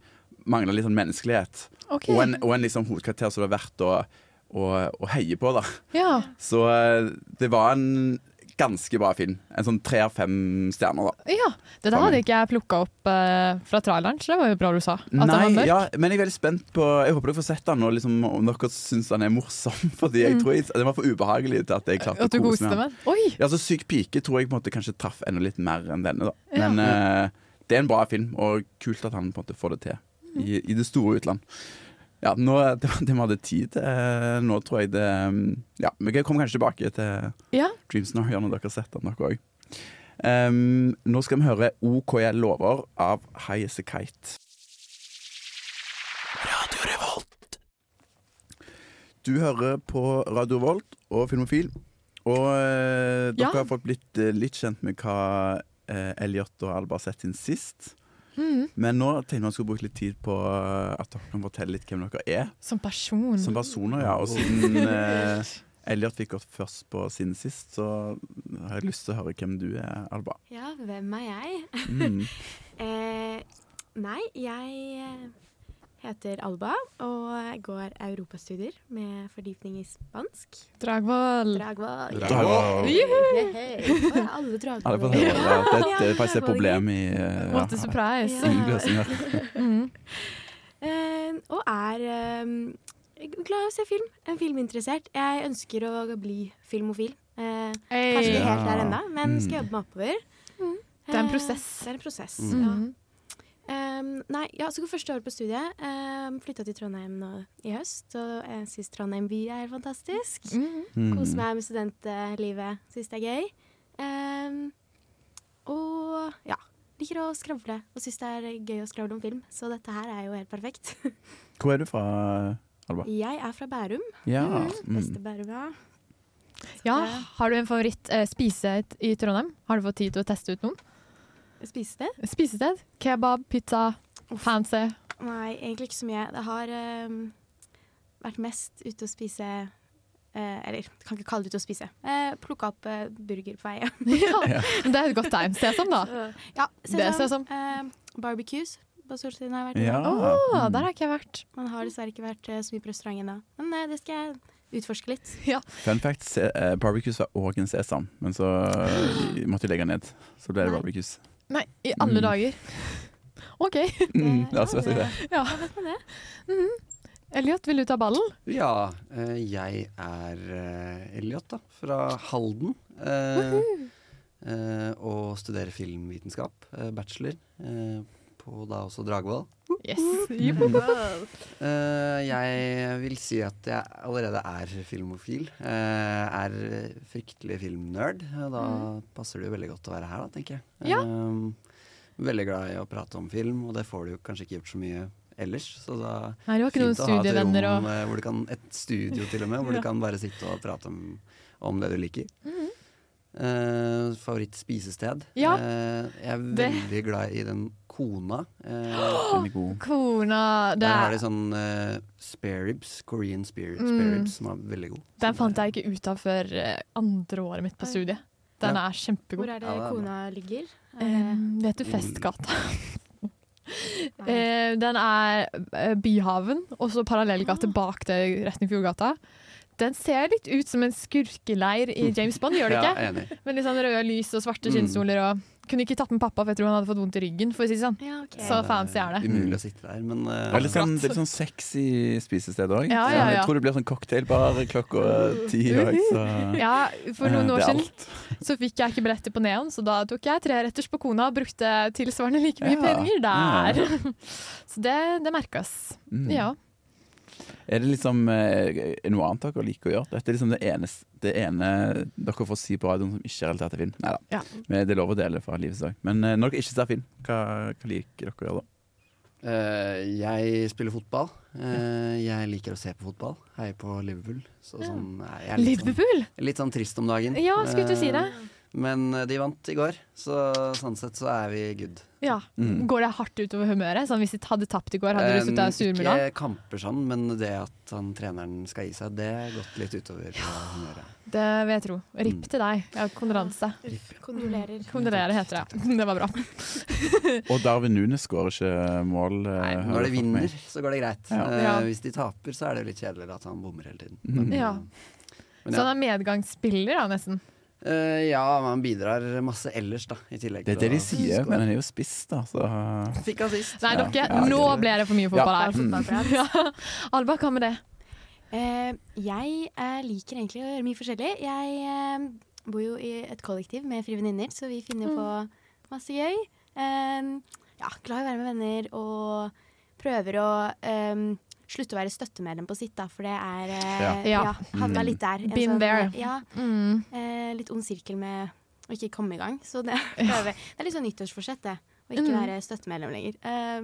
S8: mangla litt sånn menneskelighet.
S9: Ok.
S8: Og en, og en liksom hovedkarakter som det er verdt å, å, å heie på, da.
S9: ja.
S8: Så eh, det var en ganske bra film. En sånn tre av fem stjerner, da.
S9: ja. Det der hadde ikke jeg plukka opp eh, fra traileren, så det var jo bra du sa. At den var
S8: Nei,
S9: mørk.
S8: ja, men jeg er veldig spent på Jeg håper dere får sett den, og liksom, om dere syns den er morsom. [LAUGHS] Fordi jeg tror jeg, den var for ubehagelig til at jeg klarte
S9: Mm. At du
S8: å kose
S9: koste
S8: meg.
S9: med den. Oi!
S8: Ja, så Syk pike tror jeg på en måte kanskje traff enda litt mer enn denne. da
S9: Ja.
S8: Men eh, det er en bra film, og kult at han på en måte får det
S9: Mm.
S8: til i, i det store utland. Ja, nå, [LAUGHS] det, var- det vi hadde tid til. eh, nå tror jeg det mm, Ja, vi kan- kommer kanskje tilbake til
S9: Ja.
S8: Dreams Now når dere har sett den, dere òg. Um, nå skal vi høre OK jeg lover av High As A Kite. Radio Revolt. Du hører på Radio Revolt og Filmofil. Og eh, dere
S9: Ja.
S8: har fått blitt eh, litt kjent med hva eh, Elliot og Alba har sett siden sist.
S9: Mm.
S8: Men nå tenkte jeg man skulle bruke litt tid på eh, at dere kan fortelle litt hvem dere er
S9: Som person.
S8: som personer. Ja. Og siden eh, Elliot fikk oss først på siden sist, så har jeg lyst til å høre hvem du er, Alba.
S5: Ja, hvem er jeg?
S8: Mm.
S5: Eh, nei, jeg eh, heter Alba og går europastudier med fordypning i spansk.
S9: Dragvoll.
S5: Dragvoll.
S8: Dragvoll.
S5: Yay! Å, Alle
S8: Alle får
S5: dragvoll.
S8: høre
S5: [LAUGHS]
S8: det. Det, det er faktisk et
S5: Dragvoll.
S8: problem i eh,
S9: What a surprise.
S5: Ja.
S8: innløsning her.
S5: Eh, og er eh, glad i å se film. En filminteressert. Jeg ønsker å bli filmofil. Eh, kanskje
S9: Hey.
S5: ikke helt der
S8: Ja.
S5: ennå, men skal
S8: Mm.
S5: jobbe meg oppover.
S9: Det er en
S5: Eh,
S9: prosess.
S5: Det er en prosess,
S7: Mm.
S5: ja.
S9: Mhm.
S5: Um, nei, ja, så går første året på studiet. Um, Flytta til Trondheim nå i høst, og jeg syns Trondheim by er fantastisk.
S8: Mm.
S9: Mhm.
S5: Koser meg med studentlivet. Syns det er gøy. Um, og ja. Liker å skravle, og syns det er gøy å skravle om film. Så dette her er jo helt perfekt.
S8: Hvor er du fra, Alba?
S5: Jeg er fra Bærum.
S8: Ja.
S5: Beste
S8: Mm.
S5: Bærum, ja.
S9: Ja, Har du en favoritt eh, spisested i Trondheim? Har du fått tid til å teste ut noen?
S5: Spisested?
S9: Spisested? Kebab, pizza,
S8: [LAUGHS]
S9: fancy.
S5: Nei, egentlig ikke så mye. Det har um, vært mest ute å spise eh, Eller kan ikke kalle det ute å spise. Uh, Plukka opp eh, burger på vei hjem.
S9: [LAUGHS] Ja. Men det er et godt tegn. Sesam,
S5: [LAUGHS]
S9: da.
S5: Ja,
S9: Det ser jeg sånn. som.
S5: sesam. Eh, barbecues på Solsiden har jeg vært
S8: Ja.
S5: innom.
S9: Å,
S8: Mm.
S9: der har ikke jeg vært.
S5: Man har dessverre ikke vært eh, så mye på restaurant ennå. Men eh, det skal jeg utforske litt.
S8: Fun fact, se, eh, barbecues var òg en sesam, men så eh, måtte jeg legge den ned. Så ble det barbecues.
S9: Nei, i alle
S8: Mm.
S9: dager. [LAUGHS] OK.
S8: [LAUGHS] Mm. Ja, så vet jeg det.
S5: Hva vet man det?
S9: Elliot, vil du ta ballen?
S7: Ja, eh, jeg er eh, Elliot, da. Fra Halden. eh, eh, og studerer filmvitenskap. eh, bachelor. eh, på da også Dragvoll.
S9: Yes. Jupp.
S7: [LAUGHS] Eh, jeg vil si at jeg allerede er filmofil. eh, er fryktelig filmnerd. og Da passer det jo veldig godt å være her, da, tenker jeg.
S9: Mm. Ja.
S7: Eh, veldig glad i å prate om film, og det får du jo kanskje ikke gjort så mye ellers. Så da
S9: Nei, du har ikke noen
S7: Fint å ha et rom
S9: studievenner og
S7: eh, hvor du kan, et studio til og med,
S9: [LAUGHS]
S7: hvor du kan bare sitte og prate om, om det du liker. Eh, Favoritt-spisested.
S9: Ja.
S7: Eh, jeg er
S9: Det-
S7: veldig glad i den kona.
S9: [GASPS]
S7: Eh,
S8: Den er god.
S9: Kona det
S7: der har
S9: er,
S7: de sånn eh, spare ribs, Korean spare, spare
S9: Mm.
S7: ribs, som er veldig god.
S9: Den fant jeg ikke ut av før eh, andre året mitt på
S5: Oi.
S9: studiet. Den er
S5: Hvor
S9: kjempegod.
S5: er det
S7: Ja, det er bra.
S5: kona ligger? Er det- Mm.
S9: Um, vet du Festgata?
S5: Nei.
S9: Eh, den er eh, Byhaven, og så
S5: Ah.
S9: parallellgate bak det, rett i Fjordgata. Den ser litt ut som en skurkeleir i James Bond, gjør det ikke?
S7: [LAUGHS] Ja, enig.
S9: Med litt sånn røde lys og svarte
S7: Mm.
S9: skinnstoler og Kunne ikke tatt med pappa, for jeg tror han hadde fått vondt i ryggen. For å si det sånn.
S5: Ja, ok.
S9: Så fancy er det.
S7: Umulig å sitte der, men eh,
S8: Det er litt sånn, det er litt sånn sexy spisested òg.
S9: Ja, ja, ja.
S8: Jeg tror det blir sånn cocktailbar klokka ti òg, så
S9: [LAUGHS] Ja, for
S8: eh,
S9: noen år
S8: det er
S9: siden
S8: alt.
S9: [LAUGHS] så fikk jeg ikke billetter på Neon, så da tok jeg treretters på Kona og brukte tilsvarende like mye
S8: Ja.
S9: penger der. [LAUGHS] Så det, det merkes.
S8: Mm.
S9: Ja.
S8: Er det liksom eh, noe annet dere liker å gjøre? Dette er liksom det, enes- det ene dere får si på radioen som ikke er relatert til film. Nei da.
S9: Ja.
S8: Men Det er lov å dele fra livets dag. Men eh, når dere ikke ser film, hva, hva liker dere å gjøre da?
S7: eh, jeg spiller fotball. Eh, jeg liker å se på fotball. Heier på Liverpool. Så sånn, eh, jeg er litt, sånn,
S9: Liverpool!
S7: litt sånn trist om dagen.
S9: Ja, skulle du si
S7: Eh,
S9: det?
S7: Men eh, de vant i går, så sånn sett så er vi good.
S9: Ja.
S8: Mm.
S9: Går det hardt utover humøret? Sånn, hvis de hadde tapt i går, hadde du sittet
S7: Eh,
S9: der surmula?
S7: Ikke kamper sånn, men det at han treneren skal gi seg, det har gått litt utover eh, humøret.
S9: Det vil jeg tro.
S8: Mm.
S9: Ripp til deg. Ja, kondolanse.
S5: Uff, Kondolerer.
S9: Kondolerer, heter det. [LAUGHS] Det var bra.
S8: Og Darwin Nunes skårer ikke mål. eh,
S9: Nei,
S8: hører
S7: Når de
S8: jeg for meg.
S7: vinner, så går det greit.
S8: Ja.
S7: Eh,
S9: Ja.
S7: Hvis de taper, så er det jo litt kjedeligere at han bommer hele tiden. eh,
S8: Mhm.
S9: Ja.
S7: Men
S9: Så
S7: ja.
S9: han Sånn er medgangsspiller, da, nesten.
S7: Eh, ja, men han bidrar masse ellers, da, i tillegg.
S8: Det er det de
S7: til å
S8: sier,
S7: score.
S8: men han er jo spiss, da. Så
S7: Fikk assist.
S9: Nei,
S8: Ja.
S9: dere,
S8: Ja,
S9: nå
S7: det-
S9: ble det for
S8: Ja.
S9: mye fotball her.
S8: Mm.
S9: [LAUGHS]
S5: Fotballprat.
S9: Alba, hva med det?
S5: Eh, jeg eh, liker egentlig å gjøre mye forskjellig. Jeg eh, bor jo i et kollektiv med frivenninner, så vi finner jo
S9: Mm.
S5: på masse gøy. Eh, ja, glad i å være med venner og prøver å eh, slutte å være støttemedlem på sitt, da, for det er eh,
S9: Ja. Mm.
S5: Ja, havna litt der. En sånn,
S9: Been there.
S5: Ja,
S9: Mm.
S5: eh, litt ond sirkel med å ikke komme i gang. Så det, prøver. det er litt sånn nyttårsforsett, det. Å ikke
S9: Mm.
S5: være støttemedlem lenger. Eh,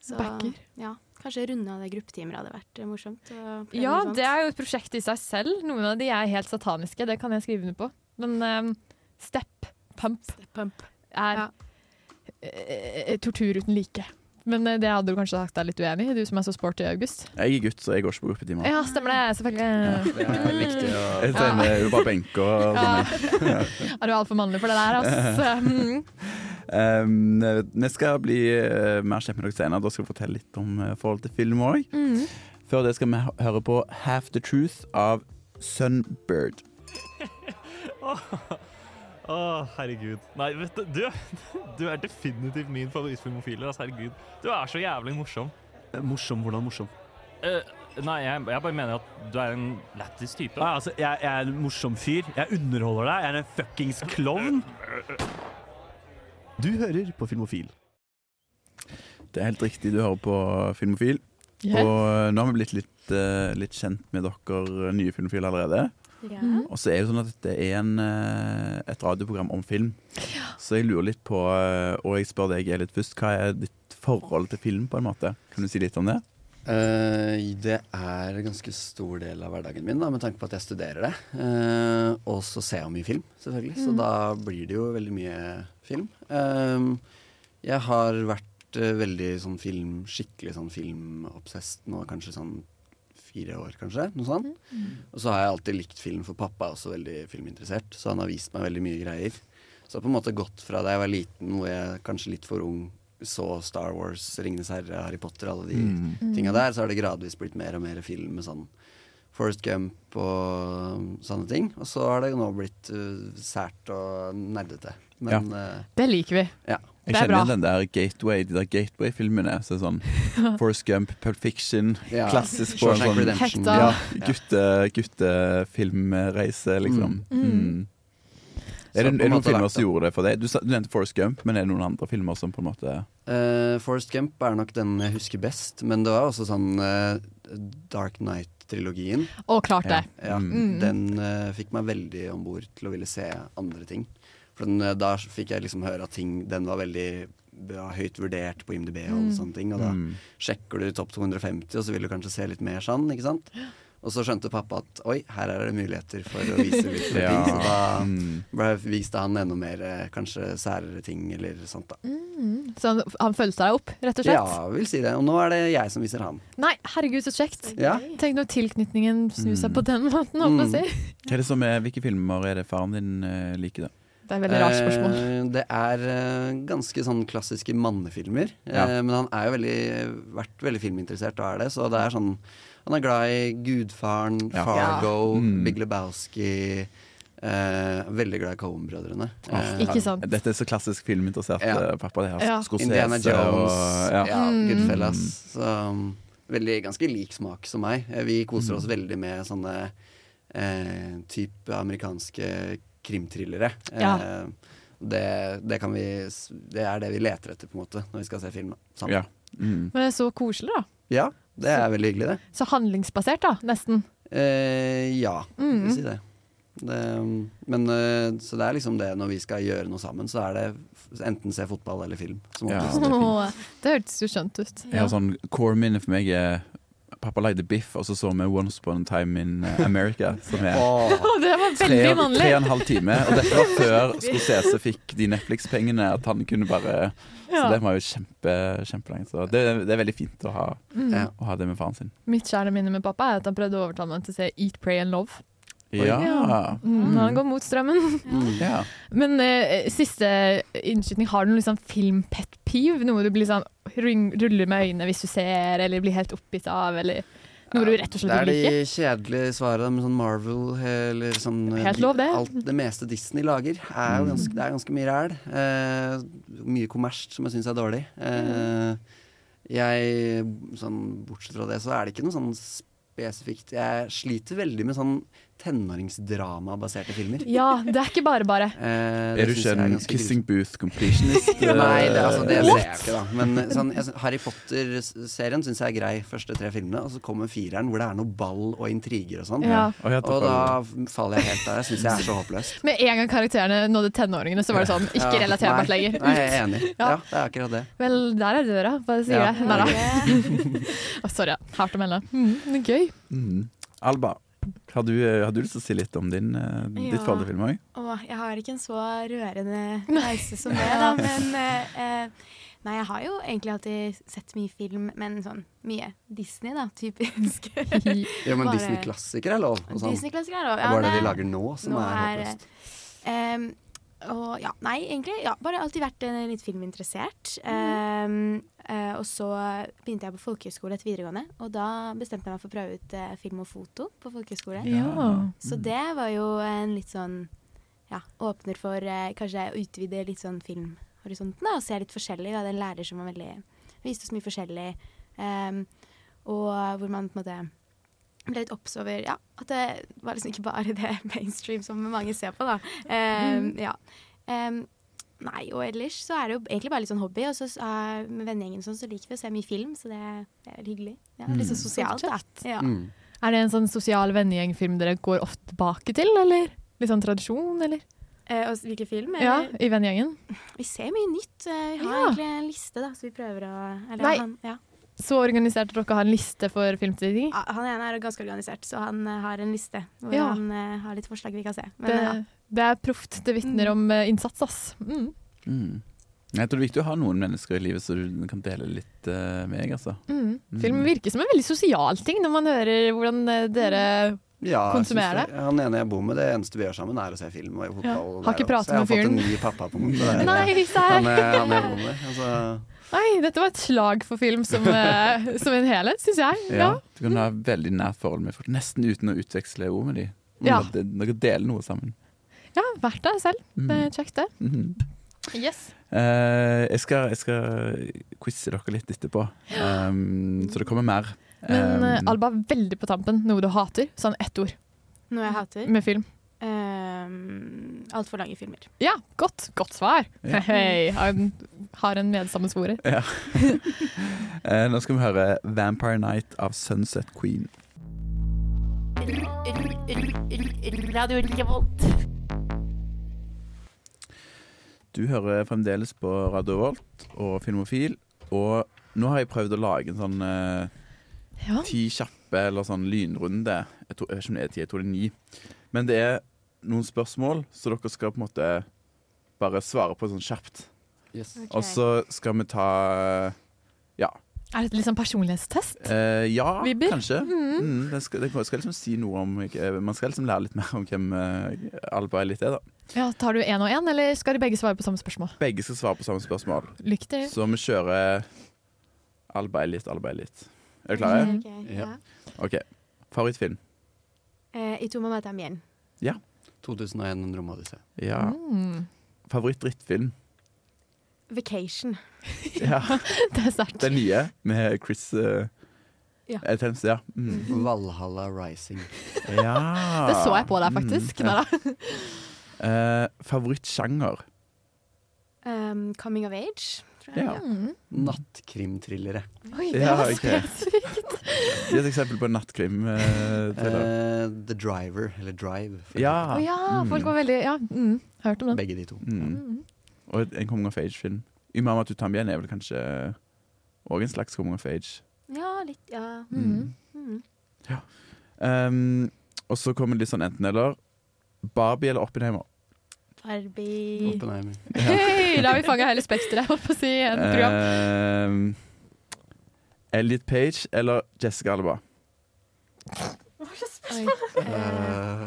S5: så,
S9: Backer.
S5: Ja, kanskje runde av det gruppetimer hadde vært eh, morsomt. å prøve
S9: Ja,
S5: noe sånt.
S9: det er jo et prosjekt i seg selv. Noen av de er helt sataniske, det kan jeg skrive under på. Men ehm, step pump er
S5: Ja.
S9: eh, tortur uten like. Men eh, det hadde du kanskje sagt deg litt uenig i, du som er så sporty, August.
S8: jeg er gutt, så jeg går ikke på gruppetimer.
S9: Ja, stemmer det, selvfølgelig.
S7: Det er viktig
S8: [LAUGHS]
S7: å
S8: Jeg trener jo bare benker og
S9: Ja. [LAUGHS]
S8: sånn.
S9: Er du altfor mannlig for det der, altså? Mm.
S8: Um, vi skal bli eh, mer kjent med dere senere. Da skal vi fortelle litt om eh, forholdet til film òg.
S9: mm.
S8: Før det skal vi hø- høre på Half the Truth av Sunbird.
S4: Å, herregud. Nei, vet du, du Du er definitivt min favorittfilmofil. Altså, herregud. Du er så jævlig morsom.
S11: Morsom, hvordan morsom?
S4: Eh, nei, jeg, jeg bare mener at du er en lættis type.
S11: Nei, altså, jeg, jeg er en morsom fyr. Jeg underholder deg. Jeg er en fuckings klovn.
S4: Eh,
S11: Du hører på Filmofil.
S8: Det er helt riktig, du hører på Filmofil.
S9: Yeah.
S8: Og eh, nå har vi blitt litt, eh, litt kjent med dere eh, nye filmofile allerede.
S5: Ja.
S9: Mhm.
S8: Og så er det sånn at det er en, eh, et radioprogram om film. Så jeg lurer litt på, eh, og jeg spør deg litt først, hva er ditt forhold til film, på en måte? Kan du si litt om det?
S7: Eh, det er en ganske stor del av hverdagen min, da, med tanke på at jeg studerer det. Eh, og så ser jeg mye film, selvfølgelig, så da blir det jo veldig mye film. Eh, jeg har vært eh, veldig sånn film, skikkelig sånn filmobsess nå, kanskje sånn fire år, kanskje. Noe sånt. Og så har jeg alltid likt film, for pappa er også veldig filminteressert, så han har vist meg veldig mye greier. Så jeg har på en måte gått fra da jeg var liten, hvor jeg kanskje litt for ung så Star Wars, Ringenes herre, Harry Potter, alle de
S8: Mm.
S9: Mm.
S7: tinga der, så har det gradvis blitt mer og mer film med sånn Forest Gump og um, sånne ting. Og så har det jo nå blitt uh, sært og nerdete. Men eh,
S9: Det liker vi.
S7: ja.
S8: Jeg
S9: Det er
S8: kjenner
S9: bra.
S8: igjen den der Gateway, de der Gateway-filmene. Så det er
S9: [LAUGHS]
S8: sånn Forrest Gump, Pulp Fiction,
S7: Ja.
S8: klassisk på en
S7: Shawshank
S8: sånn
S7: Redemption.
S9: Hekta.
S8: ja, gutte, guttefilmreise, liksom.
S9: Mm.
S8: Mm. Er det,
S7: Så på en
S8: er det noen
S7: måte verdt
S8: filmer
S7: det.
S8: som gjorde det for deg? Du, sa- du nevnte Forrest Gump, men er det noen andre filmer som på en måte
S7: Eh, Forrest Gump er nok den jeg husker best, men det var også sånn eh, Dark Knight-trilogien.
S9: Og klart det.
S7: Ja,
S9: Mm.
S7: Den eh, fikk meg veldig om bord til å ville se andre ting. For den, eh, Da fikk jeg liksom høre at ting Den var veldig bra, høyt vurdert på IMDb, og alle
S9: Mm.
S7: sånne ting Og da
S8: Mm.
S7: sjekker du topp 250, og så vil du kanskje se litt mer sånn. ikke sant? Og så skjønte pappa at oi, her er det muligheter for å vise litt
S8: [LAUGHS]
S7: flere ting. Så da
S8: mm.
S7: ble, viste han enda mer eh, kanskje særere ting eller sånt, da.
S9: Mm. Så han, han fulgte deg opp, rett og
S7: Ja,
S9: slett?
S7: vil si det. Og nå er det jeg som viser han.
S9: Nei, herregud, så kjekt.
S7: Ja.
S9: Tenk når tilknytningen snur seg
S8: Mm.
S9: på den måten, holdt jeg på å si.
S8: Hva er det som er, Hvilke filmer er det faren din eh, liker, da?
S9: Det er et veldig rart spørsmål.
S7: Eh, det er eh, ganske sånn klassiske mannefilmer.
S8: Ja.
S7: Eh, men han er jo veldig, vært veldig filminteressert, og er det. Så det er sånn Han er glad i Gudfaren,
S8: Ja.
S7: Fargo,
S8: Ja. Mm.
S7: Big Lebowski. eh, veldig glad i Cohen-brødrene. Eh,
S9: Ikke sant.
S8: Dette er så klassisk filminteressert
S7: Ja.
S8: eh, pappa. Det her.
S9: Ja.
S8: Scorsese
S7: Indiana Jones.
S8: og-
S7: ja.
S8: ja.
S9: Mm.
S7: Goodfellas. Så, um, veldig, ganske lik smak som meg. Eh, Vi koser
S8: Mm.
S7: oss veldig med sånne eh, type amerikanske krimthrillere. Eh,
S9: Ja.
S7: det, det, kan vi, s- det er det vi leter etter på en måte når vi skal se film. da,
S8: Ja.
S7: Sammen.
S8: Mm.
S9: Men det er så koselig, da.
S7: Ja. det er veldig hyggelig, det.
S9: Så handlingsbasert, da, nesten.
S7: Eh, ja,
S9: Mm.
S7: vil si det. det um, men, eh, så det er liksom det når vi skal gjøre noe sammen, så er det f- enten se fotball eller film. Som
S8: Ja.
S9: [LAUGHS]
S7: oftest.
S8: det er fint.
S9: Åh, det hørtes jo skjønt ut.
S8: Jeg har sånn core minne for meg er Pappa lagde biff, og så så vi Once Upon a Time in eh, America. Som er
S7: Åh.
S9: [LAUGHS] Å, det var
S8: tre,
S9: veldig
S8: tre
S9: mannlig!
S8: og en halv time. Og dette var før Scorsese fikk de Netflix-pengene. At han kunne bare Så
S9: Ja.
S8: det var jo kjempe, kjempelangt. Så det, det er veldig fint å ha,
S7: Ja.
S8: å ha det med faren sin.
S9: Mm. Mitt kjære minne med pappa er at han prøvde å overtale meg til å se Eat, Pray and Love.
S8: Ja.
S9: Mm, Han går mot strømmen. [LAUGHS]
S7: Mm.
S8: ja.
S9: Men eh, siste innskytning, har du noe liksom film-pet-piv? Noe du blir sånn ring, ruller med øynene hvis du ser, eller blir helt oppgitt av, eller noe du rett og
S7: Det
S9: slett
S7: er
S9: ikke liker?
S7: de kjedelige svarene med sånn Marvel eller sånn
S9: Helt lov, det. Mm.
S7: Alt det meste Disney lager, er jo ganske, det er ganske mye ræl. Eh, mye kommersielt som jeg syns er dårlig. Eh, jeg, sånn, bortsett fra det, så er det ikke noe sånn spesifikt Jeg sliter veldig med sånn tenåringsdrama-baserte filmer.
S9: Ja, det er ikke bare bare.
S7: Eh, det
S8: Er du
S7: synes
S8: ikke
S7: jeg
S8: en
S7: ganske
S8: kissing booth completionist?
S7: [LAUGHS] grusomt. Nei, det, altså, det ser
S8: eh, What?
S7: jeg ikke, da. Men sånn, jeg, syns- Harry Potter-serien syns jeg er grei, første tre filmene. Og så kommer fireren, hvor det er noe ball og intriger og sånn.
S9: Ja.
S8: Å, ja, det
S7: Og
S8: var-
S7: da faller jeg helt av. Jeg syns jeg er så håpløst.
S9: Med en gang karakterene nådde tenåringene, så var det sånn [LAUGHS] ikke
S7: Ja,
S9: relaterbart
S7: nei.
S9: lenger.
S7: Nei, jeg er enig.
S9: [LAUGHS] Ja.
S7: Ja, det er akkurat det.
S9: Vel, der er døra, bare sier
S7: Ja.
S9: jeg. Nei da. Å, sorry, ja. hardt å melde. Mm, det er
S5: [LAUGHS]
S9: gøy.
S8: Mm. Alba, har du, har du lyst til å si litt om din, eh, ditt
S5: Ja.
S8: forhold til film òg?
S5: Åh, jeg har ikke en så rørende reise som det,
S7: [LAUGHS]
S5: da, men eh, eh, Nei, jeg har jo egentlig alltid sett mye film, men sånn mye Disney, da,
S7: [LAUGHS]
S5: typisk.
S7: Jo, men
S5: Bare-
S7: Disney-klassiker er lov. Og sånn.
S5: Disney-klassiker er lov.
S7: Det er bare det de
S5: nei.
S7: lager nå, som
S5: Nå
S7: er
S5: er-
S7: håpløst.
S5: Ehm, og ja, nei, egentlig. Ja, bare alltid vært eh, litt filminteressert. Ehm, eh, og så begynte jeg på folkehøyskole etter videregående, og da bestemte jeg meg for å prøve ut eh, film og foto på folkehøyskole.
S9: Ja.
S5: Så det var jo en litt sånn ja, åpner for eh, kanskje å utvide litt sånn filmhorisonten da, og se litt forskjellig. Vi hadde en lærer som var veldig, viste oss mye forskjellig, ehm, og hvor man på en måte ble litt obs over ja, at det var liksom ikke bare [LAUGHS] det mainstream som mange ser på, da. Ehm, ja. Ehm, nei, og ellers så er det jo egentlig bare litt sånn hobby, og så eh, med vennegjengen og sånn, så liker vi å se mye film, så det, det er veldig hyggelig. Ja, litt
S9: Mm.
S5: sånn sosialt, da. Ja.
S7: Mm.
S9: Er det en sånn sosial vennegjengfilm dere går ofte tilbake til, eller? Litt sånn tradisjon, eller?
S5: Eh, og hvilken film?
S9: Ja,
S5: eller?
S9: i vennegjengen.
S5: Vi ser mye nytt. Eh, Vi har
S9: Ja.
S5: egentlig en liste, da, så vi prøver å eller,
S9: Nei.
S5: Han, ja.
S9: Så organisert at dere har en liste for filmtidning?
S5: Ah, han ene er ganske organisert, så han eh, har en liste hvor
S9: Ja.
S5: han eh, har litt forslag vi kan se. Men, eh,
S9: Det,
S5: ja.
S9: det er proft. Det vitner om eh, innsats, ass. Mm.
S8: Mm. Jeg tror det er viktig å ha noen mennesker i livet som du kan dele litt eh, med. Jeg, altså.
S9: Mm. Film virker som en veldig sosial ting, når man hører hvordan eh, dere
S7: Ja, jeg synes
S9: Konsumere?
S7: det. Han ene jeg bor med, det eneste vi gjør sammen, er å se film og fotball.
S9: Ja.
S7: og
S9: Har
S7: der
S9: ikke pratet
S7: også.
S9: med
S7: Så jeg har
S9: fyren.
S7: fått en ny pappa, på en måte.
S5: Mm.
S7: Det
S9: [LAUGHS]
S7: er-
S9: Nei,
S7: Han
S9: serr!
S7: er, han er jeg bor med. Altså,
S9: Nei, dette var et slag for film
S8: [LAUGHS]
S9: som, eh, som en helhet, syns jeg. Ja.
S8: Ja. Du kan ha veldig nært forhold med folk, nesten uten å utveksle ord med dem.
S9: Ja.
S8: Dere deler noe sammen. Mm.
S9: ja, vært der selv. Det er Eh, Kjekt, det.
S8: Mhm.
S9: Yes.
S8: Eh, jeg, skal, jeg skal quize dere litt etterpå, um, så det kommer mer.
S9: Men eh,
S8: Um,
S9: Alba, veldig på tampen. Noe du hater? Sånn ett ord
S5: Noe jeg hater.
S9: med film.
S5: Um, Altfor lange filmer.
S9: Ja, godt. Godt svar.
S8: Ja.
S9: [LAUGHS] Hei, har en, har en medsammensvorer.
S8: ja. Eh, nå skal vi høre 'Vampire Night' av Sunset Queen.
S12: Radio Revolt.
S8: Du hører fremdeles på Radio Volt og Filmofil, og nå har jeg prøvd å lage en sånn eh,
S9: Ja.
S8: ti kjappe eller sånn lynrunde. Jeg, tror, jeg vet ikke om det er ti, jeg tror det er ni. Men det er noen spørsmål, så dere skal på en måte bare svare på sånn kjapt.
S9: Ok.
S8: Og så skal vi ta Ja.
S9: Er det litt sånn personlighetstest?
S8: Eh, ja,
S9: Vibber?
S8: kanskje.
S9: Mhm.
S8: Mm, den skal, den skal liksom si noe om eh, Man skal liksom lære litt mer om hvem eh, Alba Elite er, da.
S9: Ja, Tar du én og én, eller skal de begge svare på samme spørsmål?
S8: Begge skal svare på samme spørsmål.
S9: Lykke til.
S8: Så vi kjører Alba er litt, Alba er litt. Er dere
S9: Mm.
S8: klare?
S5: Ok, ok, ja.
S8: OK. Favorittfilm?
S5: Eh, I to må møte Mjern.
S8: Ja.
S7: 2001 en romodyssé.
S8: ja.
S5: Mm.
S8: Favoritt-drittfilm?
S5: Vacation.
S8: Ja.
S9: [LAUGHS] det er sterkt.
S8: Den nye med Chris uh,
S5: Ja.
S8: Adams, ja. Mm.
S7: Valhalla Rising.
S8: ja.
S9: Det så jeg på deg, faktisk.
S8: Mm, ja.
S9: Neida.
S8: Eh, Favorittsjanger?
S5: Um, coming of age. tror jeg.
S8: Ja.
S9: Mm.
S7: Nattkrimthrillere.
S9: Oi, det var spesifikt.
S8: Gi et eksempel på en nattkrim.
S9: [LAUGHS]
S8: eh, thriller.
S7: Eh, The Driver, eller Drive. for
S8: ja.
S9: Å ja,
S8: Mm.
S9: folk var veldig Ja, mm, hørt om
S7: eksempel.
S9: den.
S7: Begge de to.
S8: Mm.
S9: Mm.
S8: Og en Coming of Age-film. Imama Tutambien er vel kanskje òg en slags Coming of Age.
S5: ja, litt, ja.
S9: Mm.
S5: Mm.
S8: Um, og så kommer det litt sånn enten-eller. Barbie eller Oppenheimer?
S5: Barbie.
S9: [LAUGHS]
S7: Oppenheimer.
S9: Hei, da har vi fanga hele spekteret, holdt på å si. i En
S8: Eh,
S9: program.
S8: Ehm, Elliot Page eller Jessica Alba?
S5: Oi.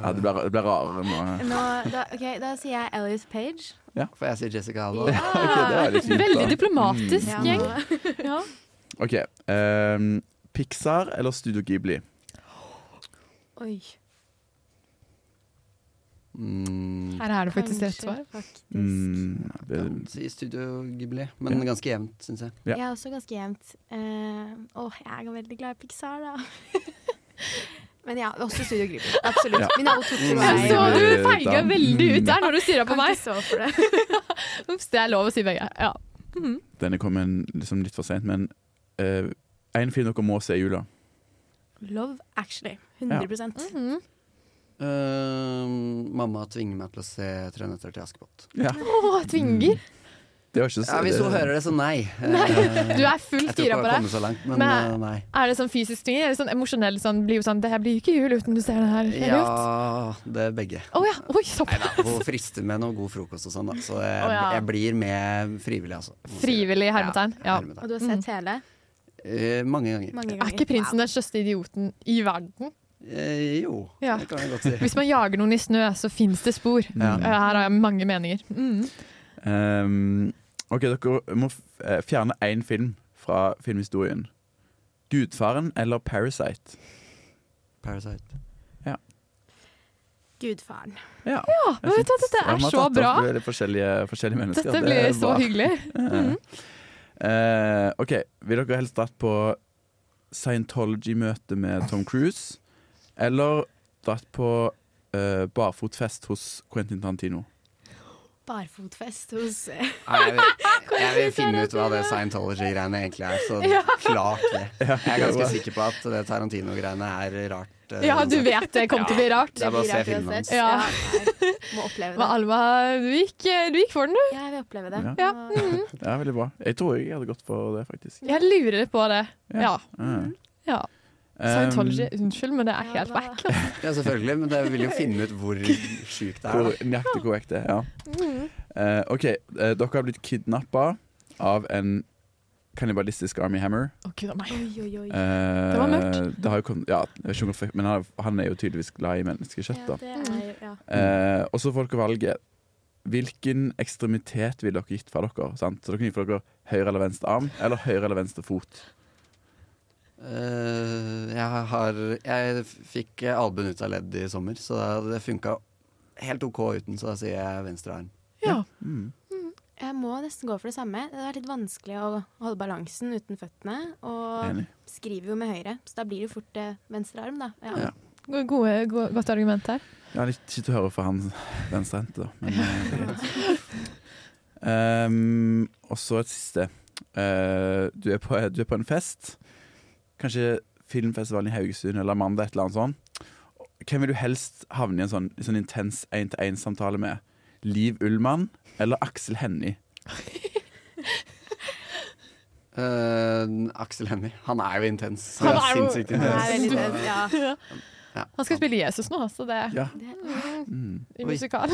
S8: Ja, det blir, det blir rarere nå.
S5: Nå, da, ok, da sier jeg Elliot Page.
S7: For jeg sier Jessica Alba.
S8: [LAUGHS] Ok, det var litt fint, da. Mm.
S9: Veldig diplomatisk
S5: [LAUGHS] Ja,
S9: gjeng.
S5: nå-
S9: Ja.
S8: OK. ehm, Pixar eller Studio Ghibli?
S5: Oi.
S7: Mm.
S9: Her er det faktisk rett
S5: kanskje,
S9: svar.
S5: faktisk.
S8: Mm,
S7: Ja,
S8: det-
S7: si Studio Ghibli, men
S8: Ja.
S7: ganske jevnt, syns jeg.
S8: Ja.
S5: Jeg er også ganske jevnt. Eh, åh, jeg er veldig glad i Pixar, da. [LAUGHS] Men ja, også Studio Glipp. Absolutt.
S8: Ja.
S5: Mine er alle to
S7: Mm.
S5: tror
S9: Jeg
S5: jeg.
S9: så
S8: Nei,
S9: du
S8: det-
S9: feiga
S8: da-
S9: veldig ut der når du stirra på
S5: Kan
S9: meg.
S5: ikke så for det.
S9: Ups, det er lov å si begge. Ja.
S8: Denne kom en, liksom litt for seint, men eh, en film dere må se i jula.
S5: [LAUGHS] Love Actually. 100
S9: Mhm.
S7: Ehm, mamma tvinger meg til å se 'Tre nøtter til Askepott'.
S8: Ja.
S9: Å, tvinger.
S8: Det var ikke så
S7: Ja, hvis hun hører det,
S9: [LAUGHS]
S7: så nei. Eh,
S9: Du er fullt
S7: jeg tror ikke
S9: gira
S7: hun
S9: på
S7: har
S9: det.
S7: kommet så langt, men
S9: Men-
S7: eh, nei.
S9: Er det sånn fysisk tvinger, eller sånn emosjonell sånn blir jo sånn Det her blir jo ikke jul uten du ser det her. ser det ut?
S7: Ja, det er begge.
S9: Å ja. Oi, såpass.
S7: Hun frister med noe god frokost og sånn, da. Så
S9: Å,
S7: jeg,
S9: ja.
S7: jeg blir med frivillig, altså.
S9: Frivillig hermetegn. Ja.
S5: Og
S7: hermetegn.
S5: du har sett
S9: Mm.
S5: hele?
S7: Eh, mange ganger.
S5: Mange ganger.
S9: Er ikke prinsen den største idioten i verden?
S7: Eh, jo,
S9: Ja.
S7: det kan jeg godt si.
S9: Hvis man jager noen i snø, så fins det spor.
S8: Ja.
S9: Eh, Her har jeg mange meninger. Mm.
S8: Ehm, OK, dere må f- eh, fjerne én film fra filmhistorien. 'Gudfaren' eller 'Parasite'?
S7: Parasite.
S5: Gudfaren.
S8: Ja,
S9: men vet du hva, dette er så bra.
S8: Det forskjellige, forskjellige mennesker.
S9: Dette
S8: Det er
S9: blir så
S8: bra.
S9: hyggelig. Mhm.
S8: Eh, eh, OK, vil dere helst dratt på Scientology-møte med Tom Cruise? Eller dratt på eh, barfotfest hos Quentin Tarantino?
S5: Barfotfest hos eh,
S7: Nei, jeg,
S9: [LAUGHS]
S7: vil, jeg vil finne ut hva det scientology-greiene egentlig er,
S9: [LAUGHS]
S7: så klart det. Jeg er [LAUGHS] ganske sikker på at det Tarantino-greiene er rart. eh,
S9: Ja, du
S7: uansett.
S9: vet det kommer til å bli rart.
S7: Det er bare å se
S5: blir rart
S7: filmen hans.
S5: uansett.
S9: Ja.
S5: nei, Må oppleve
S9: Men
S5: det.
S9: Alva, du gikk, du gikk for den, du.
S5: Ja, jeg vil oppleve det.
S9: Ja.
S5: Og-
S9: Mm.
S8: Ja, veldig bra. Jeg tror jeg hadde gått for det, faktisk.
S9: Jeg lurer litt på det. Ja. Mhm.
S8: Ah.
S9: ja.
S8: Ehm,
S9: Scientology, unnskyld, men det er helt
S5: Ja, da-
S9: wack. altså.
S7: Ja, selvfølgelig, men jeg vil jo finne ut hvor sjukt det er.
S8: Hvor
S7: da.
S8: nøyaktig korrekt det er, ja.
S9: Mm.
S8: Eh, OK, eh, dere har blitt kidnappa av en kannibalistisk Army Hammer.
S9: Å, gud a meg.
S5: Oi, oi, oi.
S8: Eh,
S9: Det var mørkt.
S8: det har jo kommet, ja, jeg vet ikke om det fikk- men han, han er jo tydeligvis glad i menneskekjøtt, da.
S5: Ja, det er, ja.
S8: Eh, og så får dere valget. Hvilken ekstremitet ville dere gitt fra dere? Sant? Så dere gir fra dere høyre eller venstre arm, eller høyre eller venstre fot.
S7: Eh, jeg har Jeg fikk albuen ut av ledd i sommer, så det funka helt OK uten, så da sier jeg venstre arm.
S9: Ja.
S8: Mm.
S5: Jeg må nesten gå for det samme. Det har vært litt vanskelig å holde balansen uten føttene. Og
S8: Enig.
S5: skriver jo med høyre, så da blir det fort eh, venstre arm, da. Ja.
S8: Ja.
S9: Gode, gode, godt argument her.
S8: Jeg har litt kjipt å høre fra han venstrehendte, da. Men eh, det er greit. Ehm, og så et siste. Eh, du, er på, du er på en fest. Kanskje filmfestivalen i Haugesund eller Amanda, et eller annet sånt. Hvem vil du helst havne i en sånn, sånn intens én-til-én-samtale med? Liv Ullmann eller Aksel Hennie?
S7: Eh, Aksel Hennie. Han er jo intens.
S9: Han er jo-
S7: sinnssykt
S9: han er veldig
S7: intens.
S9: intens, [LAUGHS] ja.
S7: Ja.
S9: Han skal spille Jesus nå, så det
S7: Ja.
S9: [LAUGHS] Mm. I
S7: Oi.
S9: musikal.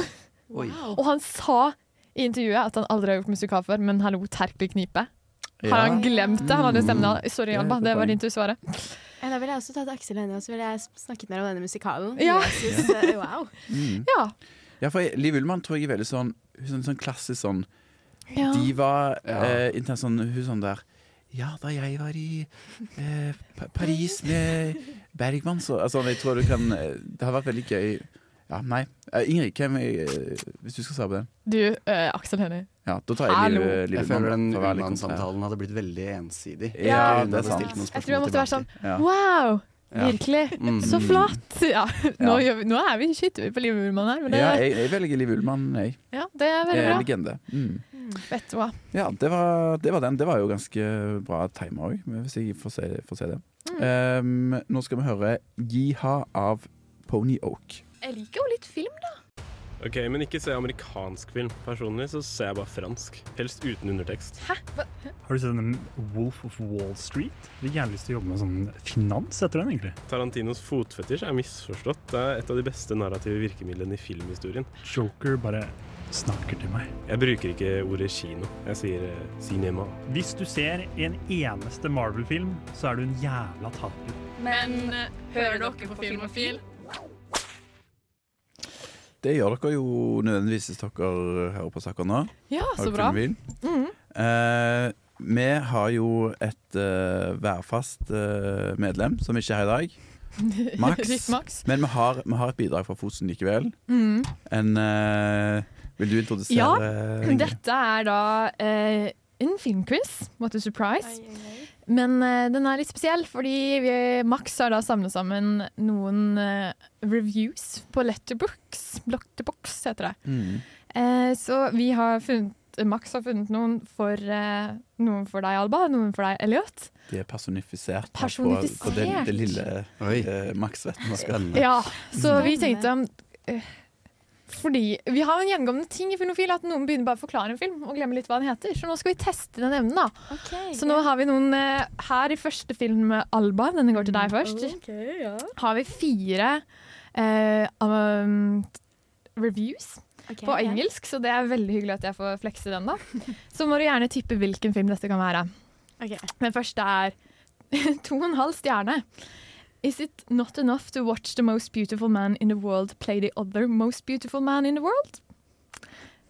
S7: Oi.
S9: Og han sa i intervjuet at han aldri har gjort musikal før, men hallo, terk blir knipe. Har han
S5: Ja.
S9: glemt det? Han hadde stemmen av Sorry,
S5: Det er
S9: Alba,
S5: et
S9: det var
S5: poeng.
S9: din tur å svare.
S5: Ja, Da ville jeg også tatt Aksel Hennie, og så ville jeg s- snakket mer om denne musikalen.
S9: Ja.
S5: Jesus, eh,
S9: [LAUGHS]
S5: wow.
S8: Mm.
S9: Ja.
S8: Ja, for jeg- Liv Ullmann tror jeg er veldig sånn Hun er sånn klassisk sånn
S9: Ja.
S8: diva.
S7: Ja.
S8: Eh, intens sånn, hun sånn der Ja, da jeg var i eh, Pa- Paris med Bergman, så altså, Jeg tror du kan eh, Det har vært veldig gøy. Ja, nei. Eh, Ingrid, hvem er, eh, hvis du skal svare på den?
S9: Du, eh, Aksel Hennie.
S8: Ja, da tar jeg Liv, Liv
S7: Jeg
S8: Ullmann,
S7: føler den
S8: for å være litt kontrær.
S7: Ullmann-samtalen hadde blitt veldig ensidig.
S8: Ja,
S7: Hun
S8: det er
S7: hadde
S8: sant.
S7: stilt noen
S9: Jeg tror jeg
S7: spørsmål
S9: måtte være sånn
S7: tilbake.
S8: Ja.
S9: Wow!
S7: Ja.
S9: Virkelig.
S8: Mm.
S9: Så flott! [LAUGHS] Ja,
S8: Ja.
S9: nå, gjør vi, nå er vi shit vi på Liv Ullmann her, men det,
S8: Ja, jeg, jeg velger Liv Ullmann, jeg.
S9: ja, det er
S8: Jeg
S9: veldig
S8: er
S9: bra.
S8: legende. Mm.
S9: Vet du hva.
S8: Ja, det var, det var den. Det var jo ganske bra timer òg, hvis jeg får se, får se det.
S9: Mm.
S8: Um, nå skal vi høre Jiha av Pony Oak.
S13: Jeg liker jo litt film, da.
S1: Ok, Men ikke se amerikansk film. Personlig så ser jeg bare fransk. Helst uten undertekst.
S13: Hæ? Hva?
S14: Har du sett den Wolf of Wall Street? Fikk gjerne lyst til å jobbe med sånn finans etter den, egentlig.
S1: Tarantinos fotfetisj er misforstått. Det er et av de beste narrative virkemidlene i filmhistorien.
S14: Joker bare snakker til meg.
S1: Jeg bruker ikke ordet kino. Jeg sier eh, cinema.
S14: Hvis du ser en eneste Marvel-film, så er du en jævla taper.
S6: Men eh, hører dere på Filmofil?
S8: Det gjør dere jo nødvendigvis hvis dere hører på saker nå.
S9: Ja,
S8: Har
S9: så
S8: dere
S9: bra.
S8: filmbil?
S9: Mhm.
S8: Eh, vi har jo et eh, værfast eh, medlem som ikke er her i dag. [LAUGHS] Max.
S9: Ritt Mm. Max.
S8: Men vi har, vi har et bidrag fra Fosen likevel.
S9: Mhm.
S8: En, eh, vil du introdusere
S9: Ja,
S8: Ingrid?
S9: dette er da eh, en filmquiz. What a surprise. Men eh, den er litt spesiell, fordi vi, Max har da samlet sammen noen eh, reviews på Letterbox. Blotterbox heter det.
S8: Mm.
S9: Eh, så vi har funnet Max har funnet noen for, eh, noen for deg, Alba, noen for deg, Elliot.
S8: De er personifisert. her
S9: Personifisert.
S8: På, på det, det lille uh, Max vet man skal.
S9: Ja, så vi tenkte om eh, Fordi vi har jo en gjengående ting i Filmofil, at noen begynner bare å forklare en film og glemmer litt hva den heter. Så nå skal vi teste den evnen, da. så nå har vi noen eh, her i første film, eh, Alba, denne går
S5: Mm.
S9: til deg først, har vi fire eh, um, reviews.
S5: Ok,
S9: på
S5: ja.
S9: engelsk, så det er veldig hyggelig at jeg får flekse den. da. Så må du gjerne tippe hvilken film dette kan være.
S5: Ok.
S9: Den første er [LAUGHS] to og en halv stjerne. Is it not enough to watch the most beautiful man in the world play the other most beautiful man in the world?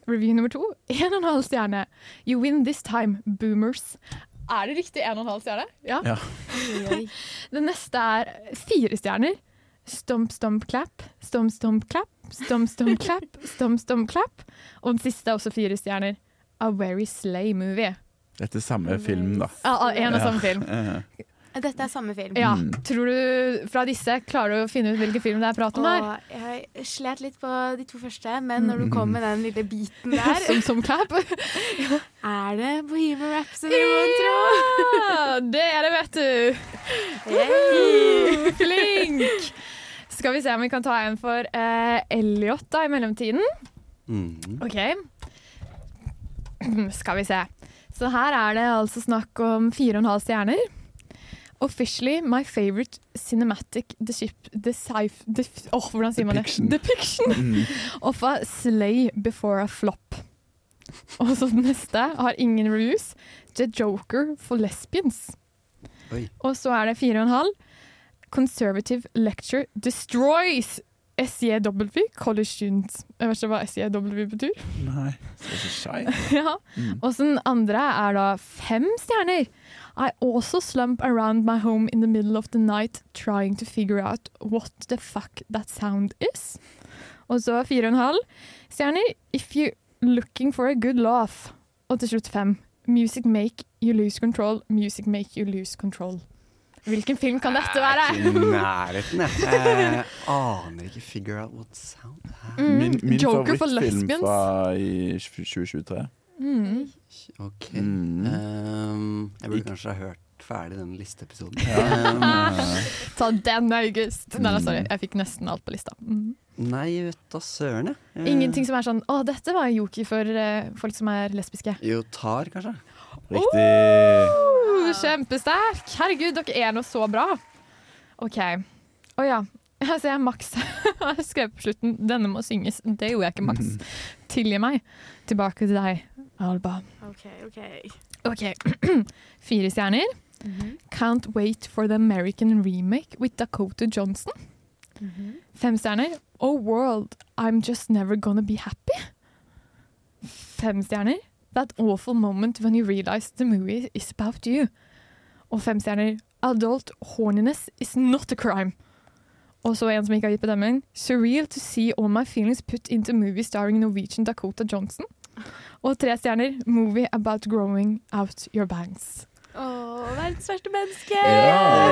S9: Review nummer to. [LAUGHS] En og en halv stjerne. You win this time, boomers. Er det riktig en og en halv stjerne? Ja.
S8: Ja.
S9: Den neste er fire stjerner. Stomp, stomp, clap. Stomp, stomp, clap. Stomp, stomp, clap. Stomp, stomp, clap. Og den siste er også fire stjerner. A very slay movie.
S8: Dette er samme film, da.
S9: Ja, ja, en og
S8: Ja.
S9: samme film.
S8: Ja.
S5: Dette er samme film.
S9: Ja, tror du fra disse klarer du å finne ut hvilken film det er prat om her?
S5: Og jeg slet litt på de to første, men når du kom med den lille biten der
S9: [LAUGHS] Som, som
S5: [LAUGHS]
S9: clap?
S5: Er det Bohemian Rhapsody, mon tro?
S9: Ja, det er det, vet du.
S5: Yay.
S9: Woohoo, [LAUGHS] Flink! Skal vi se om vi kan ta en for eh, Elliot da, i mellomtiden.
S8: mhm.
S9: OK. [CLEARS THROAT] Skal vi se. Så her er det altså snakk om fire og en halv stjerner. Officially my favorite cinematic deship, decif, def, åh, hvordan sier man det? Depiction
S8: Mm.
S9: of a slay before a flop. Og så den neste har ingen reviews. The Joker for lesbians.
S7: Oi.
S9: Og så er det fire og en halv. Conservative lecture destroys SJW college students. Jeg vet ikke hva SJW betyr. [LAUGHS]
S8: Nei, det er så skei.
S9: ja.
S8: Mm.
S9: Og så den andre er da fem stjerner. I also slump around my home in the middle of the night trying to figure out what the fuck that sound is. Og så fire og en halv stjerner. If you're looking for a good laugh, Og til slutt fem. Music make you lose control, music make you lose control. Hvilken film kan dette
S7: I
S9: være?
S7: nærheten, jeg. Jeg aner ikke. Figure out what sound
S9: Mm,
S8: Min, min
S9: Joker for
S8: favorittfilm
S9: lesbians.
S8: fra i 2023.
S9: Mm.
S7: Ok.
S8: Mm.
S7: Ehm, jeg burde kanskje ha hørt ferdig den listeepisoden.
S8: Eh, mm.
S7: Ehm,
S9: Ta den, August! Nei, nei, sorry, jeg fikk nesten alt på lista. Mm.
S7: nei, vet da søren, jeg. Eh,
S9: Ingenting som er sånn 'Å, dette var yoki for eh, folk som er lesbiske'.
S7: Jo, tar, kanskje.
S8: Riktig.
S9: Uh, kjempesterk! Herregud, dere er nå så bra. OK. Å ja. Jeg ser Max [LAUGHS] har skrevet på slutten 'Denne må synges'. Det gjorde jeg [LAUGHS] ikke, Max.
S8: Mhm. Mm.
S9: Tilgi meg. Tilbake til deg, Alba.
S5: OK, OK.
S9: OK. [CLEARS THROAT] Fire stjerner. Mhm, Can't wait for the American remake with Dakota Johnson. mhm. Fem stjerner. Oh world, I'm just never gonna be happy. Fem stjerner. That awful moment when you realize the movie is about you. Og fem stjerner. Adult horniness is not a crime. Og så en som ikke har gitt bedømming. Surreal to see all my feelings put into movie starring Norwegian Dakota Johnson. Og tre stjerner. Movie about growing out your bangs.
S5: Å, verdens verste menneske!
S8: Ja.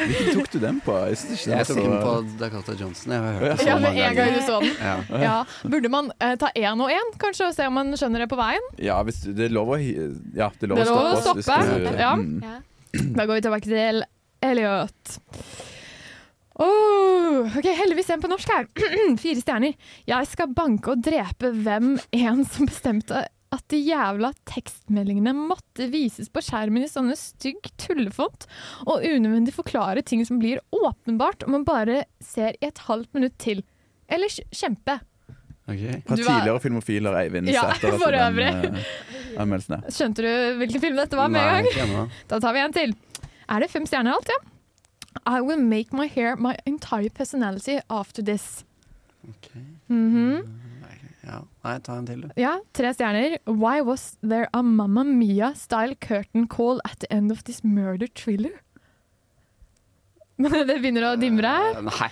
S8: Hvilken
S5: [LAUGHS]
S8: tok du den på? Jeg, synes ikke den var
S7: Jeg tok den
S8: så-
S7: på Dakota Johnson. Jeg har hørt det
S9: Ja,
S7: så
S9: med
S7: mange
S9: en gang du
S7: ganger.
S9: så den.
S7: Ja.
S9: Ja. Burde man eh, ta én og én, kanskje, og se om man skjønner det på veien?
S8: Ja, hvis du, det er lov å hi- Ja, det er lov,
S9: Det er lov
S8: stoppe.
S9: å
S8: oss hvis
S9: stoppe,
S8: du-
S9: ja.
S8: Mm.
S9: Da går vi tilbake til Elliot. Oh, ok, Heldigvis en på norsk her. [CLEARS THROAT] Fire stjerner. Jeg skal banke og drepe hvem en som bestemte at de jævla tekstmeldingene måtte vises på skjermen i sånne stygg tullefont, og unødvendig forklare ting som blir åpenbart om man bare ser i et halvt minutt til. Ellers kjempe.
S7: Ok.
S8: Fra
S9: Du var-
S8: tidligere filmofiler Eivind
S9: Ja,
S8: Sæther, altså
S9: for
S8: den,
S9: øvrig.
S8: eh, anmeldelsen, ja.
S9: Skjønte du hvilken film dette var med
S8: Nei,
S9: en gang?
S8: ikke ennå.
S9: Da tar vi en til. Er det fem stjerner alt, ja? I will make my hair my entire personality after this. Mhm.
S7: Ja. Nei, ta en til, du.
S9: Ja, tre stjerner. Why was there a Mamma Mia-style curtain call at the end of this murder thriller? [LAUGHS] Det begynner å dimre.
S7: Eh, Nei.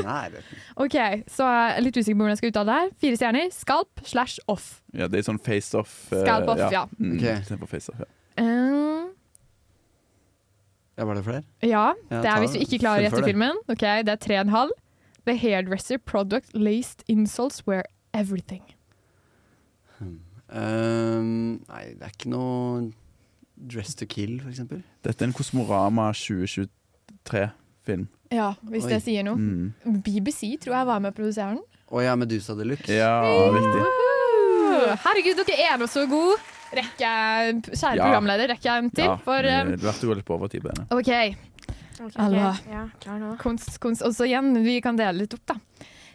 S7: Nei det
S9: OK, så jeg er litt usikker på hvordan jeg skal uttale det her. Fire stjerner. Skalp slash off.
S8: ja, det er sånn face-off. eh,
S9: Scalp off, ja.
S8: Mm,
S7: Ok.
S8: se på face-off, ja.
S9: Eh,
S7: Ja, Var det flere?
S9: Ja,
S7: Ja,
S9: det
S7: ta-
S9: er hvis du ikke klarer å gjette
S7: fullfør det.
S9: filmen. Ok, Det er tre og en halv. The hairdresser product laced insults were everything.
S7: Ehm, nei, det er ikke noe Dress to kill, for eksempel.
S8: Dette er en Kosmorama 2023-film.
S9: Ja, hvis
S7: Oi.
S9: det sier noe.
S8: Mm.
S9: BBC tror jeg var med å produsere den.
S7: Å ja, Medusa de Luxe.
S8: Ja, riktig.
S9: Uh, Herregud, dere er nå så gode! Rekker jeg, kjære
S8: Ja.
S9: programleder, rekker jeg en til?
S8: Ja,
S9: For,
S8: eh,
S9: um,
S8: det verste går litt på overtid på henne.
S9: OK.
S5: Ok,
S9: Alva.
S5: ok. Ja, klar nå.
S9: Kunst, kunst. Og så igjen, vi kan dele litt opp, da.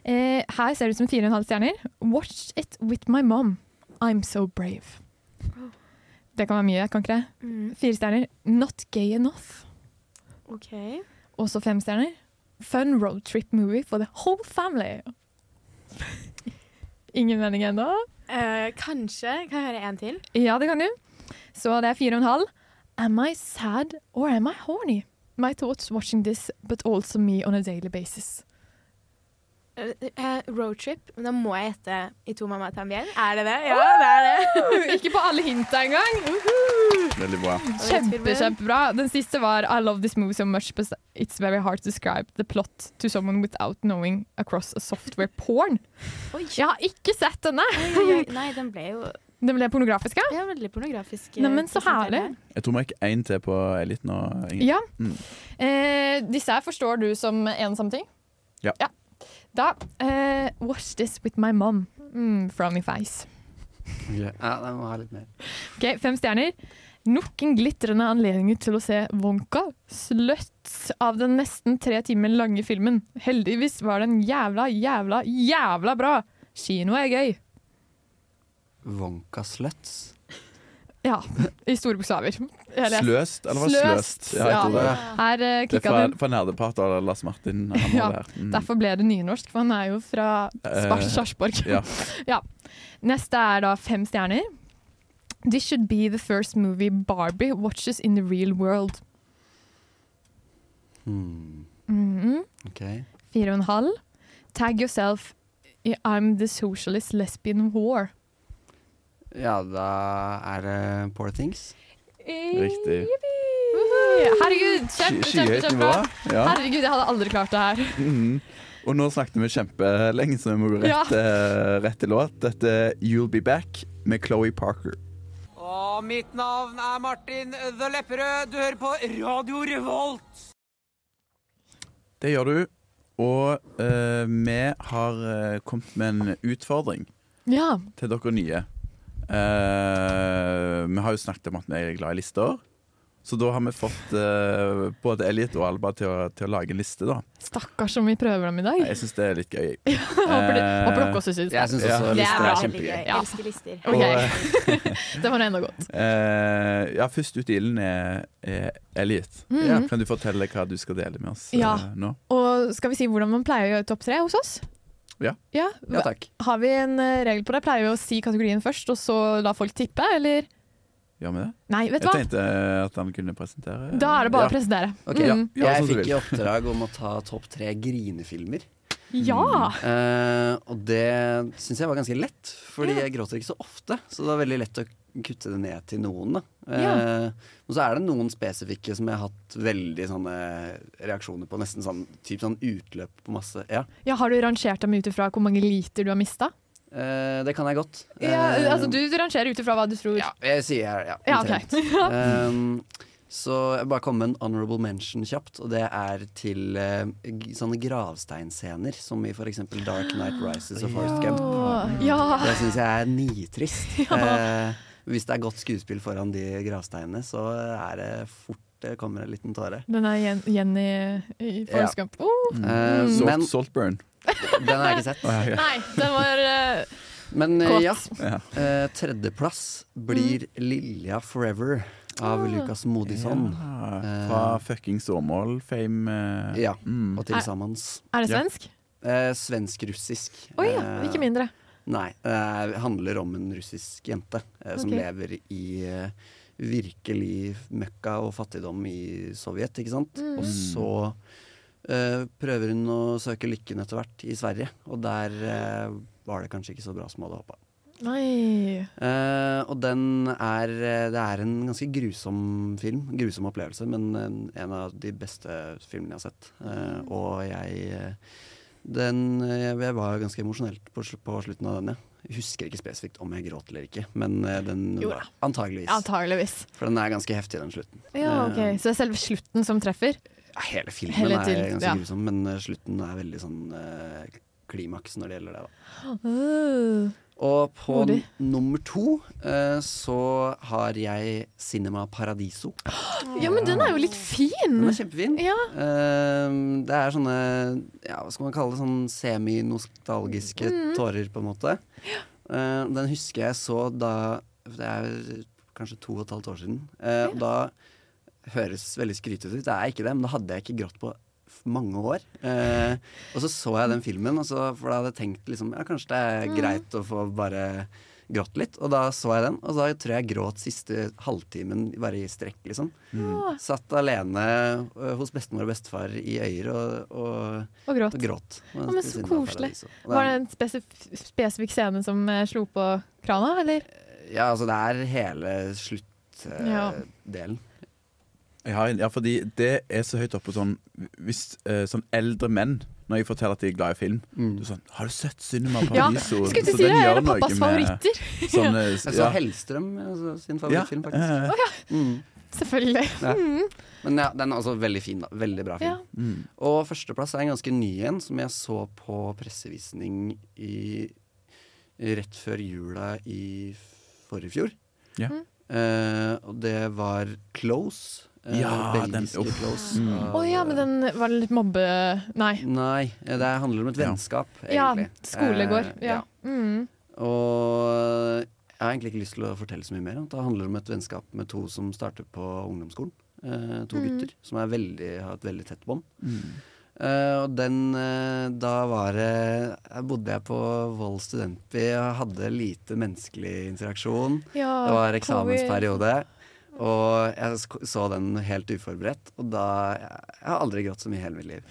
S9: Eh, her ser det ut som fire og en halv stjerner. Watch it with my mom. I'm so brave. Det kan være mye, kan ikke det?
S5: Mm.
S9: Fire stjerner. Not gay enough.
S5: OK.
S9: Også fem stjerner. Fun roadtrip movie for the whole family. [LAUGHS] Ingen mening ennå?
S5: Eh, kanskje Kan jeg høre en til?
S9: Ja, det kan du. Så det er fire og en halv. Am I sad or am I horny? My thoughts watching this, but also me on a daily basis.
S5: Eh, eh, roadtrip. Men da må jeg gjette i to mamma tambien. Er det det? Ja, det er det.
S9: [LAUGHS]
S5: [LAUGHS]
S9: Ikke på alle hinta engang!
S8: Veldig bra.
S9: Kjempe, kjempebra. Den siste var I love this movie so much, but it's very hard to describe the plot to someone without knowing across a software porn. Jeg har ikke sett denne!
S5: Oi, oi, oi. Nei, den ble jo
S9: Den ble pornografisk, ja?
S5: ja, veldig pornografisk. eh,
S9: Neimen, så
S5: presentert
S9: herlig.
S5: her.
S8: Jeg tror vi gikk én til på Elite nå. Ingrid.
S9: Ja.
S8: Mm.
S9: Eh, disse her forstår du som en samting?
S8: Ja.
S9: Da eh, Watch this with my mom. Mm, frowny face.
S7: Ok. Ja, jeg må ha litt mer.
S9: Ok, Fem stjerner. Nok en glitrende anledning til å se Wonka. Sluts av den nesten tre timer lange filmen. Heldigvis var den jævla, jævla, jævla bra. Kino er gøy.
S7: Wonka Sluts.
S9: Ja, i store bokstaver. Jeg leser.
S8: Sløst, eller var det
S9: Sløst,
S8: sløst? Ja, jeg tror det.
S9: Her eh,
S8: Det er
S9: klikka
S8: fra,
S9: den.
S8: fra Nerdeparty og Lars Martin. Han
S9: Ja,
S8: var der. Mm.
S9: Derfor ble det nynorsk, for han er jo fra Spar-
S8: Eh,
S9: Sarpsborg.
S8: ja.
S9: [LAUGHS] Ja. Neste er da fem stjerner. This should be the first movie Barbie watches in the real world.
S7: Hmm.
S9: Mhm.
S7: Ok.
S9: Fire og en halv. Tag yourself i I'm the socialist lesbian war.
S7: Ja, da er det Poor Things.
S8: Riktig.
S9: Herregud, kjempe,
S8: Sky-
S9: kjempe,
S8: skyhøyt
S9: kjempe.
S8: nivå, ja.
S9: Herregud, jeg hadde aldri klart det her.
S8: Mhm. Og nå snakket vi kjempelenge, så vi må gå rett,
S9: Ja.
S8: eh, rett til låt. Dette er You'll Be Back med Chloé Parker.
S13: Og mitt navn er Martin The Lepperød. Du hører på Radio Revolt.
S8: Det gjør du. Og eh, vi har eh, kommet med en utfordring
S9: Ja.
S8: til dere nye. Eh, vi har jo snakket om at vi er glad i lister. Så da har vi fått eh, både Elliot og Alba til å, til å lage en liste, da.
S9: Stakkars om vi prøver dem i dag.
S8: Jeg eh, syns det er litt gøy.
S9: [LAUGHS] Håper de- håper dere også synes det. Jeg synes også Det er lister er bra. kjempegøy.
S5: Jeg elsker lister.
S9: Ok. det var nå enda godt.
S8: Eh, ja, først ut i ilden er, er Elliot.
S9: Mhm. Ja.
S8: Kan du fortelle hva du skal dele med oss eh,
S9: Ja.
S8: nå?
S9: Og skal vi si hvordan man pleier å gjøre topp tre hos oss?
S8: Ja.
S9: Ja,
S8: Ja, takk.
S9: Har vi en eh, regel på det? Pleier vi å si kategorien først, og så la folk tippe, eller?
S8: Gjør vi det?
S9: Nei, vet du
S8: jeg
S9: hva?
S8: tenkte eh, at han kunne presentere.
S9: Da er det bare å presentere.
S7: Ok,
S9: Mm.
S8: Ja,
S7: Jeg
S8: sånn du
S7: fikk
S8: vil.
S7: i oppdrag om å ta topp tre grinefilmer.
S9: Ja!
S7: Eh, og det syns jeg var ganske lett, fordi jeg gråter ikke så ofte. Så det var veldig lett å kutte det ned til noen. Da. Eh,
S9: Ja.
S7: Og så er det noen spesifikke som jeg har hatt veldig sånne reaksjoner på. Nesten sånn, typ sånn utløp på masse. Ja,
S9: Ja, har du rangert dem ut ifra hvor mange liter du har mista?
S7: eh, det kan jeg godt.
S9: Ja,
S7: Eh,
S9: altså, du rangerer ut ifra hva du tror. Ja,
S7: Jeg sier ja.
S9: Ja,
S7: omtrent.
S9: ok. Ja.
S7: um, så jeg bare kom med en honorable mention kjapt, og det er til eh, g- sånne gravsteinscener, som i f.eks. Dark Night Rises og Forest Gump.
S9: Ja.
S7: Det syns jeg er nitrist.
S9: [LAUGHS] Ja.
S7: Eh, hvis det er godt skuespill foran de gravsteinene, så er det fort det kommer en liten tåre.
S9: Den er igjen, igjen i, i Forrest
S7: Ja.
S9: Gump. Oh.
S7: Mm. Eh,
S8: Salt-
S7: men-
S8: Saltburn.
S7: Den har jeg ikke sett.
S8: Å, ja, ja.
S9: Nei, den var eh,
S7: Men eh,
S9: Kåt. Mm.
S7: ja, [LAUGHS]
S8: Ja.
S7: eh, tredjeplass blir Lilja Forever av
S9: Ah.
S7: Lukas Modisson.
S8: Ja, fra fuckings Åmål-fame. eh,
S7: Eh. Ja,
S8: mm.
S7: og til sammens.
S9: Er det svensk?
S7: Eh, Svensk-russisk.
S9: Å ja,
S7: Eh,
S9: ikke mindre.
S7: Nei. Det handler om en russisk jente eh, som
S9: Ok.
S7: lever i eh, virkelig møkka og fattigdom i Sovjet, ikke sant.
S9: Mm.
S7: Og så eh, prøver hun å søke lykken etter hvert i Sverige, og der eh, var det kanskje ikke så bra som hun hadde håpa.
S9: Nei.
S7: Eh, og den er eh, Det er en ganske grusom film. Grusom opplevelse, men en, en av de beste filmene jeg har sett. Eh, og jeg eh, Den eh, Jeg var ganske emosjonelt på, sl- på slutten av den, ja. Jeg husker ikke spesifikt om jeg gråt eller ikke, men eh, den
S9: Jo
S7: var antageligvis.
S9: Antageligvis.
S7: For den er ganske heftig, den slutten.
S9: Ja,
S7: Eh,
S9: ok. Så det er selve slutten som treffer?
S7: ja, hele filmen
S9: Hele
S7: er
S9: til-
S7: ganske
S9: ja.
S7: grusom, men eh, slutten er veldig sånn eh, klimaks når det gjelder det. da
S9: Uh.
S7: Og på
S9: Modig.
S7: n- nummer to eh, så har jeg Cinema Paradiso.
S9: Ja, men den er jo litt fin!
S7: Den er
S8: Mm.
S7: kjempefin.
S9: Ja.
S7: Eh, det er sånne ja, hva skal man kalle det, sånn seminostalgiske
S9: Mm.
S7: tårer, på en måte. Eh, den husker jeg så da Det er kanskje to og et halvt år siden. Eh, og Da høres veldig skrytete ut. Det er ikke det, men da hadde jeg ikke grått på f- mange år. Eh, og så så jeg den filmen, og så, for da hadde jeg tenkt liksom, ja, kanskje det er
S9: Mm.
S7: greit å få bare grått litt. Og da så jeg den, og da tror jeg jeg gråt siste halvtimen bare i strekk, liksom.
S9: Ja.
S7: Satt alene ø, hos bestemor og bestefar i Øyer og, og,
S9: Og gråt.
S7: og gråt.
S9: Ja, men så koselig.
S7: liksom-
S9: Var det en spesif spesifikk scene som eh, slo på krana, eller?
S7: Ja, altså det er hele sluttdelen.
S9: Ja.
S8: Jeg har en, ja, fordi det er så høyt oppe sånn Hvis eh, sånn eldre menn når jeg forteller at de er glad i film Du er sånn, Har du sett Cinema
S9: Ja,
S8: Paradiso?
S9: skulle
S8: Så
S9: til å si
S8: den
S9: det,
S8: gjør
S9: er det
S8: noe
S9: pappas
S8: med
S9: favoritter?
S8: sånn,
S9: [LAUGHS]
S8: eh,
S7: Jeg så
S8: ja.
S7: Hellstrøm altså, sin
S8: Ja,
S7: favorittfilm,
S8: eh,
S7: faktisk. Mm.
S9: Selvfølgelig.
S8: [LAUGHS]
S7: Ja.
S9: Mm.
S7: Men ja, den er også veldig fin, da. Veldig bra film.
S9: Ja.
S8: Mm.
S7: Og førsteplass er en ganske ny en, som jeg så på pressevisning i, rett før jula i forrige fjor.
S8: Ja.
S9: Mm.
S7: Eh, og det var Close. eh,
S8: Ja, den-
S7: belgiske
S8: uff.
S7: Close.
S8: Mm.
S7: av-
S9: Å ja, men den var litt mobbe... Nei.
S7: Nei, eh, det handler om et vennskap,
S9: Ja,
S7: egentlig.
S9: skolegård.
S7: Eh,
S9: Ja. Mm.
S7: Og jeg har egentlig ikke lyst til å fortelle så mye mer. Det handler om et vennskap med to som starter på ungdomsskolen. Eh, to
S9: Mm.
S7: gutter som er veldig, har et veldig tett bånd.
S8: Mm.
S7: Eh, og den eh, Da var det jeg bodde jeg på Vold studentby og hadde lite menneskelig interaksjon.
S9: Ja,
S7: det var
S9: covid.
S7: eksamensperiode. Og jeg sk- så den helt uforberedt, og da Jeg har aldri grått så mye i hele mitt liv.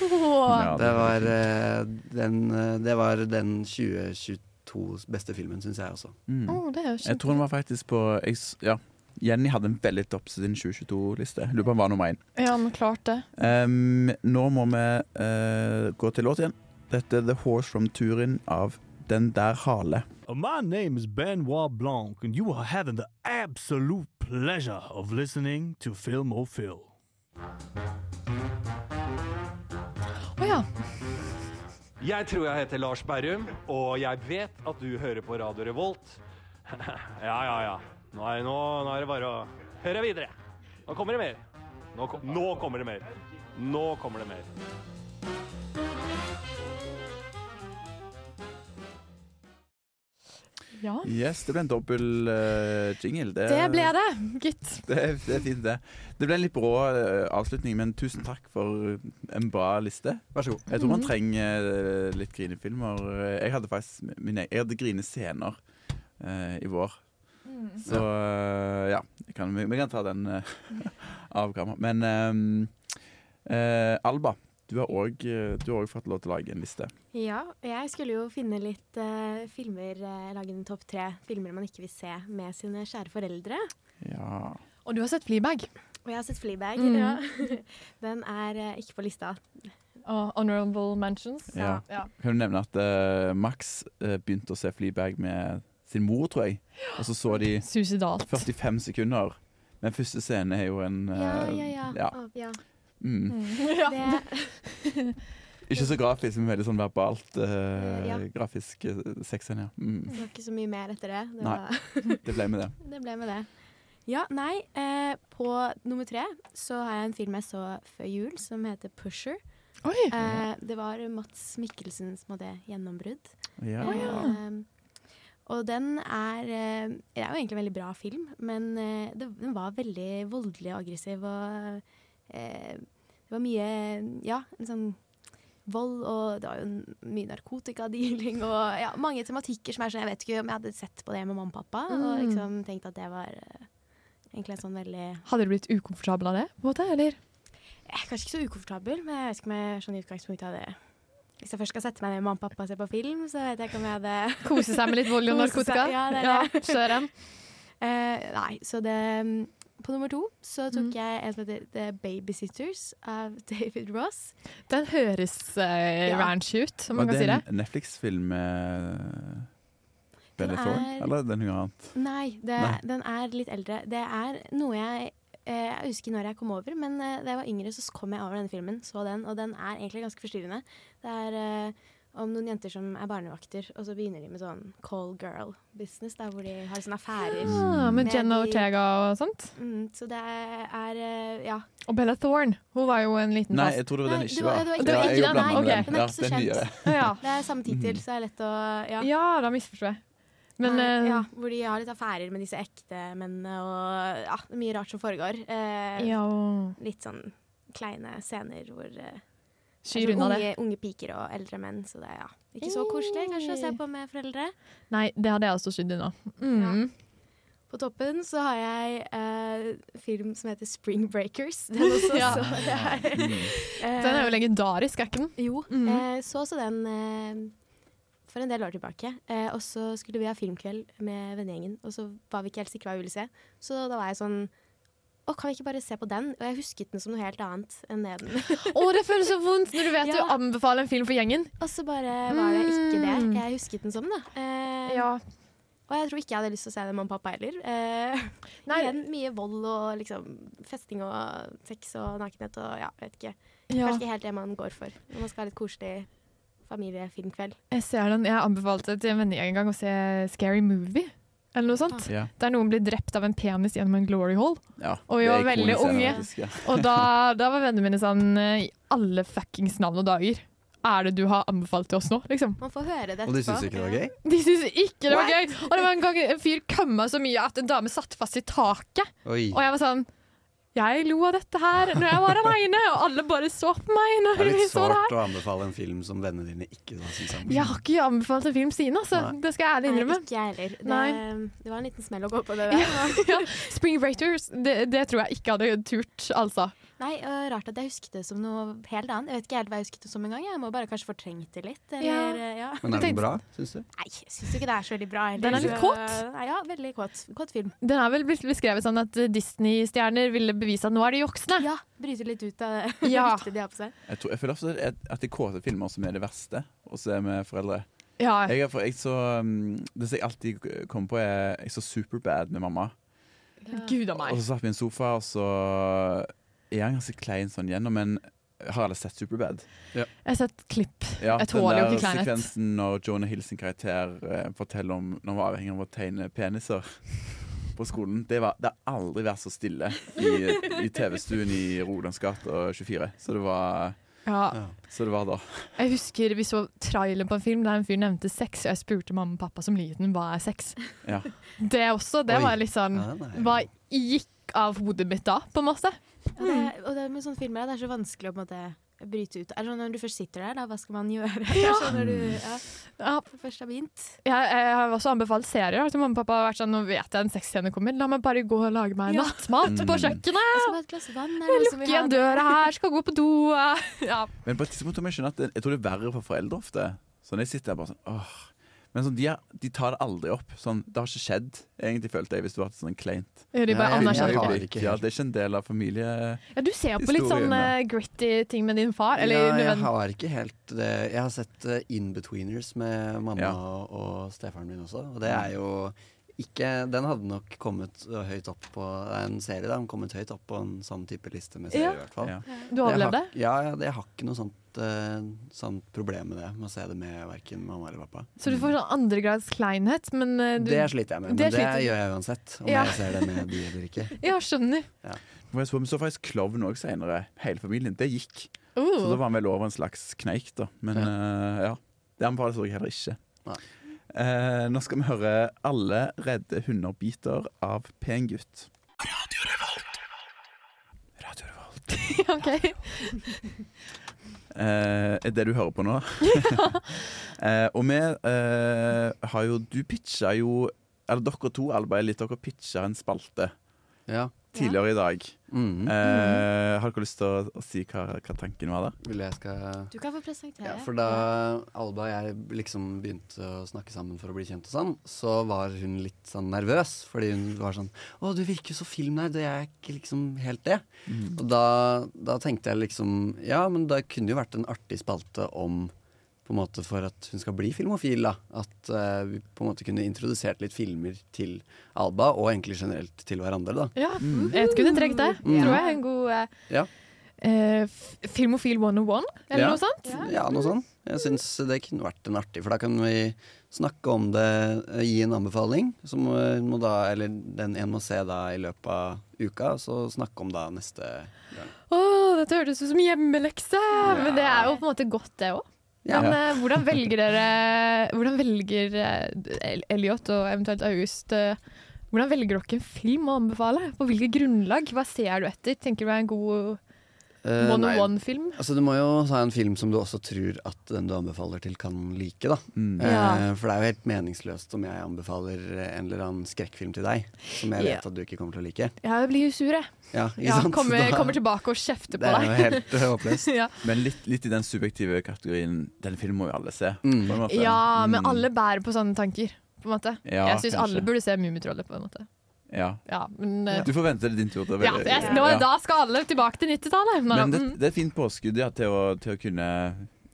S9: Åh.
S8: Ja, det
S7: det,
S8: var
S7: var, eh, den, eh, det var den 2022 to beste filmen, syns jeg også.
S8: Mm.
S9: Å, det er jo kjempe-
S8: jeg tror den var faktisk på jeg, s- Ja, Jenny hadde en veldig topp sin 2022-liste. Lurer på om den var nummer én.
S9: Ja, men klart det.
S8: Um, nå må vi eh, gå til låt igjen. Dette er The Horse From Turin av Den Der Hale.
S11: Uh, My name is Benoit Blanc, and you are having the absolute pleasure of listening to Film O' Phil.
S9: Å ja.
S13: Jeg tror jeg heter Lars Berrum, og jeg vet at du hører på Radio Revolt. [LAUGHS] ja, ja, ja. Nå er, nå, nå er det bare å høre videre. Nå kommer det mer. Nå, kom, nå kommer det mer. Nå kommer det mer.
S9: ja.
S8: Yes, det ble en dobbel eh, jingle.
S9: Det ble det, gitt.
S8: Det er, [LAUGHS] det er fint, det. Det ble en litt brå eh, avslutning, men tusen takk for en bra liste.
S7: Vær så god.
S8: Jeg tror man
S9: Mhm.
S8: trenger eh, litt grinefilmer. Jeg hadde faktisk mine, jeg hadde grinescener eh, i vår.
S9: Mm.
S8: Så eh, ja, jeg kan, vi, vi kan ta den eh, [LAUGHS] av kamera. Men eh, eh, Alba, du har òg uh, fått lov til å lage en liste.
S5: Ja, jeg skulle jo finne litt eh, filmer, eh, lage en topp tre filmer man ikke vil se med sine kjære foreldre.
S8: Ja.
S9: Og du har sett Fleabag.
S5: Og jeg har sett Fleabag.
S9: Mm.
S5: Ja. [LAUGHS] Den er eh, ikke på lista.
S9: Og Honorable Mentions.
S8: Ja. Kan du nevne at eh, Max eh, begynte å se Fleabag med sin mor, tror jeg. Og så så de
S9: Suicidalt.
S8: 45 sekunder. Men første scene er jo en eh,
S5: Ja, ja, ja. Å, ja.
S8: Mm.
S5: [LAUGHS]
S9: Ja.
S5: Det,
S8: Ikke så grafisk, men veldig sånn verbalt eh,
S5: Ja.
S8: grafisk uh, sexscene. Ja.
S5: det
S8: Mm.
S5: var ikke så mye mer etter det. Det,
S8: Nei.
S5: var,
S8: Det ble med det.
S5: det ble med det. Ja, nei. Eh, på nummer tre så har jeg en film jeg så før jul som heter Pusher.
S9: Oi.
S5: Eh, det var Mats Mikkelsen som hadde gjennombrudd.
S8: Ja.
S9: Å, ja.
S5: Eh, og den er eh, Det er jo egentlig en veldig bra film, men eh, det, den var veldig voldelig og aggressiv. Og eh, det var mye Ja, en sånn vold, og det var jo n- mye narkotikadealing og ja, mange tematikker som er sånn Jeg vet ikke om jeg hadde sett på det med mamma og pappa, og
S9: Mm.
S5: liksom tenkt at det var eh, egentlig en sånn veldig
S9: Hadde du blitt ukomfortabel av det? på en måte, eller?
S5: jeg er kanskje ikke så ukomfortabel, men jeg vet ikke om jeg sånn i utgangspunktet hadde Hvis jeg først skal sette meg ned med mamma og pappa og se på film, så vet jeg ikke om jeg hadde
S9: Kose seg med litt vold og
S5: Kose seg,
S9: narkotika?
S5: Ja, det
S9: Ja,
S5: er det.
S9: søren.
S5: Eh, nei, så det mm, På nummer to så tok jeg en som heter The Babysitters av [LAUGHS] David Ross.
S9: Den høres eh,
S5: Ja.
S9: ranch ut,
S8: Var
S9: om man kan
S8: det
S9: si det.
S8: en Netflix-film med Bellator?
S5: er- sånn-
S8: Eller er det noe annet?
S5: Nei, det,
S8: Nei.
S5: den er litt eldre. Det er noe jeg eh, Jeg husker når jeg kom over, men eh, da jeg var yngre, så kom jeg over denne filmen. Så den, og den er egentlig ganske forstyrrende. Det er eh, om noen jenter som er barnevakter, og så begynner de med sånn call girl-business, der hvor de har sånne
S9: [GASPS]
S5: affærer.
S9: Ja, Ah, med Jenna
S5: Mm. de-
S9: Ortega og sånt.
S5: Mm, så det er eh, Ja.
S9: Og Bella Thorne. Hun var jo en liten
S8: Nei,
S9: fast.
S8: jeg tror det var den
S5: Nei,
S8: ikke
S5: det var-
S8: var.
S5: det var ikke
S8: Ja,
S5: den.
S8: jeg
S5: Ikke
S8: jo
S5: den,
S8: blander
S5: nei,
S8: med
S5: ok. Den er ikke så
S8: den nye.
S5: kjent.
S9: Ja,
S5: Det er samme tittel, så det er lett å
S9: ja.
S5: Ja.
S9: ja, da misforsto jeg. Men
S5: Nei,
S9: eh,
S5: ja, hvor de har litt affærer med disse ekte mennene og ja, det er mye rart som foregår. Eh,
S9: ja, og
S5: litt sånn kleine scener hvor eh, det
S9: skyr
S5: er sånn
S9: unna det.
S5: unge, unge piker og eldre menn. Så det er ja. ikke så koselig kanskje å se på med foreldre.
S9: Nei, det hadde jeg også skydd unna. Mm.
S5: På toppen så har jeg eh, film som heter Spring Breakers. Den,
S9: [LAUGHS]
S5: også,
S9: Ja.
S5: så det er,
S8: Mm,
S9: Den er jo
S5: Eh.
S9: legendarisk, er ikke den?
S5: Jo. eh, så også den eh, for en del år tilbake. Eh, og så skulle vi ha filmkveld med vennegjengen, og så var vi ikke helt sikre hva vi ville se. Så da var jeg sånn Å, kan vi ikke bare se på den? Og jeg husket den som noe helt annet enn det den
S9: Å, det føles så vondt når du vet
S5: Ja.
S9: du anbefaler en film for gjengen.
S5: [LAUGHS] Og så bare var det ikke det
S9: Mm.
S5: jeg husket den som, da. Eh,
S9: Ja.
S5: Og jeg tror ikke jeg hadde lyst til å se det med mamma og pappa heller. Eh, [LAUGHS]
S9: Nei.
S5: Igjen mye vold og liksom festing og sex og nakenhet og ja, vet ikke.
S9: Ja.
S5: Kanskje ikke helt det man går for når man skal ha litt koselig familiefilmkveld.
S9: Jeg ser den. Jeg anbefalte til en vennegjeng en gang å se Scary Movie. Eller noe sånt.
S7: Ah.
S5: [LAUGHS]
S8: Ja.
S9: Der noen blir drept av en penis gjennom en glory hole.
S8: Ja,
S9: Og vi
S8: det er
S9: var veldig
S8: ikonisk scene,
S9: unge.
S8: faktisk, ja.
S9: Og
S7: [LAUGHS]
S9: da, da var vennene mine sånn eh, I alle fuckings navn og dager. Er det du har anbefalt til oss nå, liksom?
S5: Man får høre det
S7: Og de syns ikke det var gøy?
S9: De syntes ikke det var gøy! Og det var en gang en fyr kømma så mye at en dame satt fast i taket.
S7: Oi.
S9: Og jeg var sånn Jeg lo av dette her når jeg var aleine, og alle bare så på meg når
S7: Det er
S9: vi
S7: litt
S9: så det her.
S7: sårt å anbefale en film som vennene dine ikke har syns om.
S9: Jeg har ikke anbefalt en film siden, altså.
S7: Nei.
S9: Det skal jeg ærlig innrømme.
S5: Nei, ikke jeg heller.
S9: Nei.
S5: Det, det var en liten smell å gå på det der.
S9: ja. Spring Breakers, det, det tror jeg ikke hadde turt, altså.
S5: [LAUGHS] Nei, og rart at jeg husket det som noe helt annet. Jeg vet ikke helt hva jeg husket det som engang. Jeg må bare kanskje fortrengt det litt. Eller, eh, ja.
S7: Men er den bra, syns du?
S5: Nei, jeg syns jo ikke det er så veldig bra heller.
S9: Den er litt
S5: så-
S9: kåt.
S5: Nei, ja, veldig kåt. Kåt film.
S9: Den er vel blitt beskrevet sånn at eh, Disney-stjerner ville bevise at nå er de voksne.
S5: Ja, bryter litt ut av [LAUGHS] det
S9: Ja.
S5: ryktet de har på seg.
S8: Jeg, tror, jeg føler ofte at- at det er kåte filmer som er det verste, og så er vi foreldre.
S9: Ja.
S8: Jeg er for, jeg så, um, det som jeg alltid kommer på, er jeg så Superbad med mamma.
S9: Gud a
S8: Og
S9: meg.
S8: så satt vi i en sofa, og så Jeg er ganske klein sånn gjennom, men har alle sett Superbad?
S9: Jeg har sett klipp.
S8: Ja,
S9: jeg
S8: den
S9: tåler jo
S8: der
S9: ikke kleinhet.
S8: sekvensen når Jonah Hill sin karakter eh, forteller om når han var avhengig av å tegne peniser på skolen. Det, var, det har aldri vært så stille i, i TV-stuen i Rolandsgata 24. Så det var
S9: Ja.
S8: Så det var da.
S9: Jeg husker vi så traileren på en film der en fyr nevnte sex, og jeg spurte mamma og pappa som liten hva er sex.
S8: Ja.
S9: Det også, det
S8: Oi.
S9: var litt sånn
S8: Ja, nei.
S9: Hva gikk av hodet mitt da, på en måte?
S5: Ja, det,
S9: Mm.
S5: er- og det er med sånne filmer det er så vanskelig å på en måte bryte ut. Er det sånn Når du først sitter der, da, hva skal man gjøre? [LAUGHS] Det er sånn når du ja, først har begynt.
S9: Jeg, jeg har også anbefalt serier til mamma og pappa. Har vært sånn, nå vet jeg en sexscene kommer, la meg bare gå og lage meg
S5: Ja.
S9: nattmat på
S8: Mm.
S9: kjøkkenet!
S5: Jeg skal ha et glass vann. Er det noe som
S9: Lukke
S5: vil ha
S9: igjen
S5: det?
S9: døra her, skal gå på do. Ja.
S8: Men på et tidspunkt må jeg skjønne at det, jeg tror det er verre for foreldre ofte. Sånn, jeg sitter der bare sånn åh. Men sånn, de, er, de tar det aldri opp. Sånn, det har ikke skjedd, egentlig, følte jeg, hvis det var sånn kleint.
S9: Ja, de bare
S8: Filmøyeblikk,
S9: anerkjenner
S8: ja,
S9: det.
S8: det. er ikke en del av familie...
S9: ja, du ser på litt sånn
S8: Historiene.
S9: eh, gritty ting med din far. Eller
S7: ja, jeg
S9: nødvendig-
S7: har ikke helt det. Jeg har sett eh, Inbetweeners med mamma
S8: Ja.
S7: og, og stefaren min også, og det er jo ikke Den hadde nok kommet eh, høyt opp på det er en serie. Da. Den kommet høyt opp på en sånn type liste med
S9: Ja.
S7: serier, i hvert fall.
S9: Ja. Du
S7: Jeg har-
S9: overlevde?
S7: Ja, ja, det- jeg har ikke noe sånt, eh, sånt problem med det, med å se det med verken mamma eller pappa.
S9: Så du får sånn andregrads kleinhet, men eh, du,
S7: Det sliter jeg med, men
S9: Det
S7: det,
S9: sliter du-
S7: gjør jeg uansett. Om
S9: Ja.
S7: jeg ser det med de eller ikke.
S9: Ja, skjønner.
S8: Men Jeg så, men så faktisk klovn òg senere. Hele familien. Det gikk.
S9: Oh.
S8: Så da var han vel over en slags kneik, da. Men ja. ja. Det anbefales jeg heller ikke. Eh, nå skal vi høre 'Alle redde hunder biter' av Pen gutt.
S9: [LAUGHS] OK.
S8: Eh, er det du hører på nå. [LAUGHS] eh, og vi eh, har jo Du pitcha jo Eller dere to, Alba og Litt, dere pitcha en spalte tidligere i dag.
S9: Mm.
S7: Mm.
S8: Eh, har dere lyst til å, å si hva, hva tanken var der?
S7: Vil jeg skal
S5: Du kan få presentere.
S7: Ja, for da Alba og jeg liksom begynte å snakke sammen for å bli kjent og sånn, så var hun litt sånn nervøs, fordi hun var sånn Å, du virker jo så filmnerd, og jeg er ikke liksom helt det.
S8: Mhm.
S9: Mm.
S7: Og da, da tenkte jeg liksom Ja, men det kunne jo vært en artig spalte om på en måte For at hun skal bli filmofil, da. At eh, vi på en måte kunne introdusert litt filmer til Alba, og egentlig generelt til hverandre, da.
S9: Ja, jeg kunne trukket det.
S7: Mm.
S9: Tror jeg. En god eh,
S7: Ja.
S9: eh, f- Filmofil 101, eller
S7: ja.
S9: noe sånt?
S7: Ja, noe sånt. Jeg syns det kunne vært en artig, for da kan vi snakke om det, eh, gi en anbefaling. Som eh, må da, eller den en må se da i løpet av uka, så snakke om da neste gang.
S9: Å, dette hørtes ut som hjemmelekse! Men det er jo på en måte godt, det òg.
S7: Ja.
S9: Men eh, hvordan velger dere Hvordan velger eh, El- Elliot og eventuelt August eh, Hvordan velger dere en film å anbefale? På hvilket grunnlag? Hva ser du etter? Tenker du er en god
S7: Eh, nei.
S9: 101-film?
S7: Altså, du må jo ha en film som du også tror at den du anbefaler til, kan like. da
S8: Mm.
S7: eh,
S9: Ja.
S7: For det er jo helt meningsløst om jeg anbefaler en eller annen skrekkfilm til deg som jeg vet
S9: Ja.
S7: at du ikke kommer til å like.
S9: Ja, jeg blir jo sur, jeg.
S7: Ja, ikke
S9: Ja,
S7: sant?
S9: kommer,
S7: [LAUGHS] Da-
S9: kommer tilbake og kjefter på
S7: Det er
S9: deg.
S7: jo
S9: [LAUGHS]
S7: helt eh, håpløst.
S9: ja.
S8: Men litt, litt i den subjektive kategorien Den filmen må jo alle se. på en måte.
S9: Ja, men
S8: Mm.
S9: alle bærer på sånne tanker. På en måte.
S8: Ja,
S9: jeg syns alle
S8: kanskje.
S9: burde se Mummitrollet, på en måte.
S8: Ja.
S9: Ja, men, eh,
S8: Du får vente til din tur. til å
S9: ja,
S8: velge.
S9: jeg, nå,
S8: Ja.
S9: Da skal alle tilbake til 90-tallet. Nå,
S8: Men det,
S9: mm.
S8: det er et fint påskudd ja, til, å, til å kunne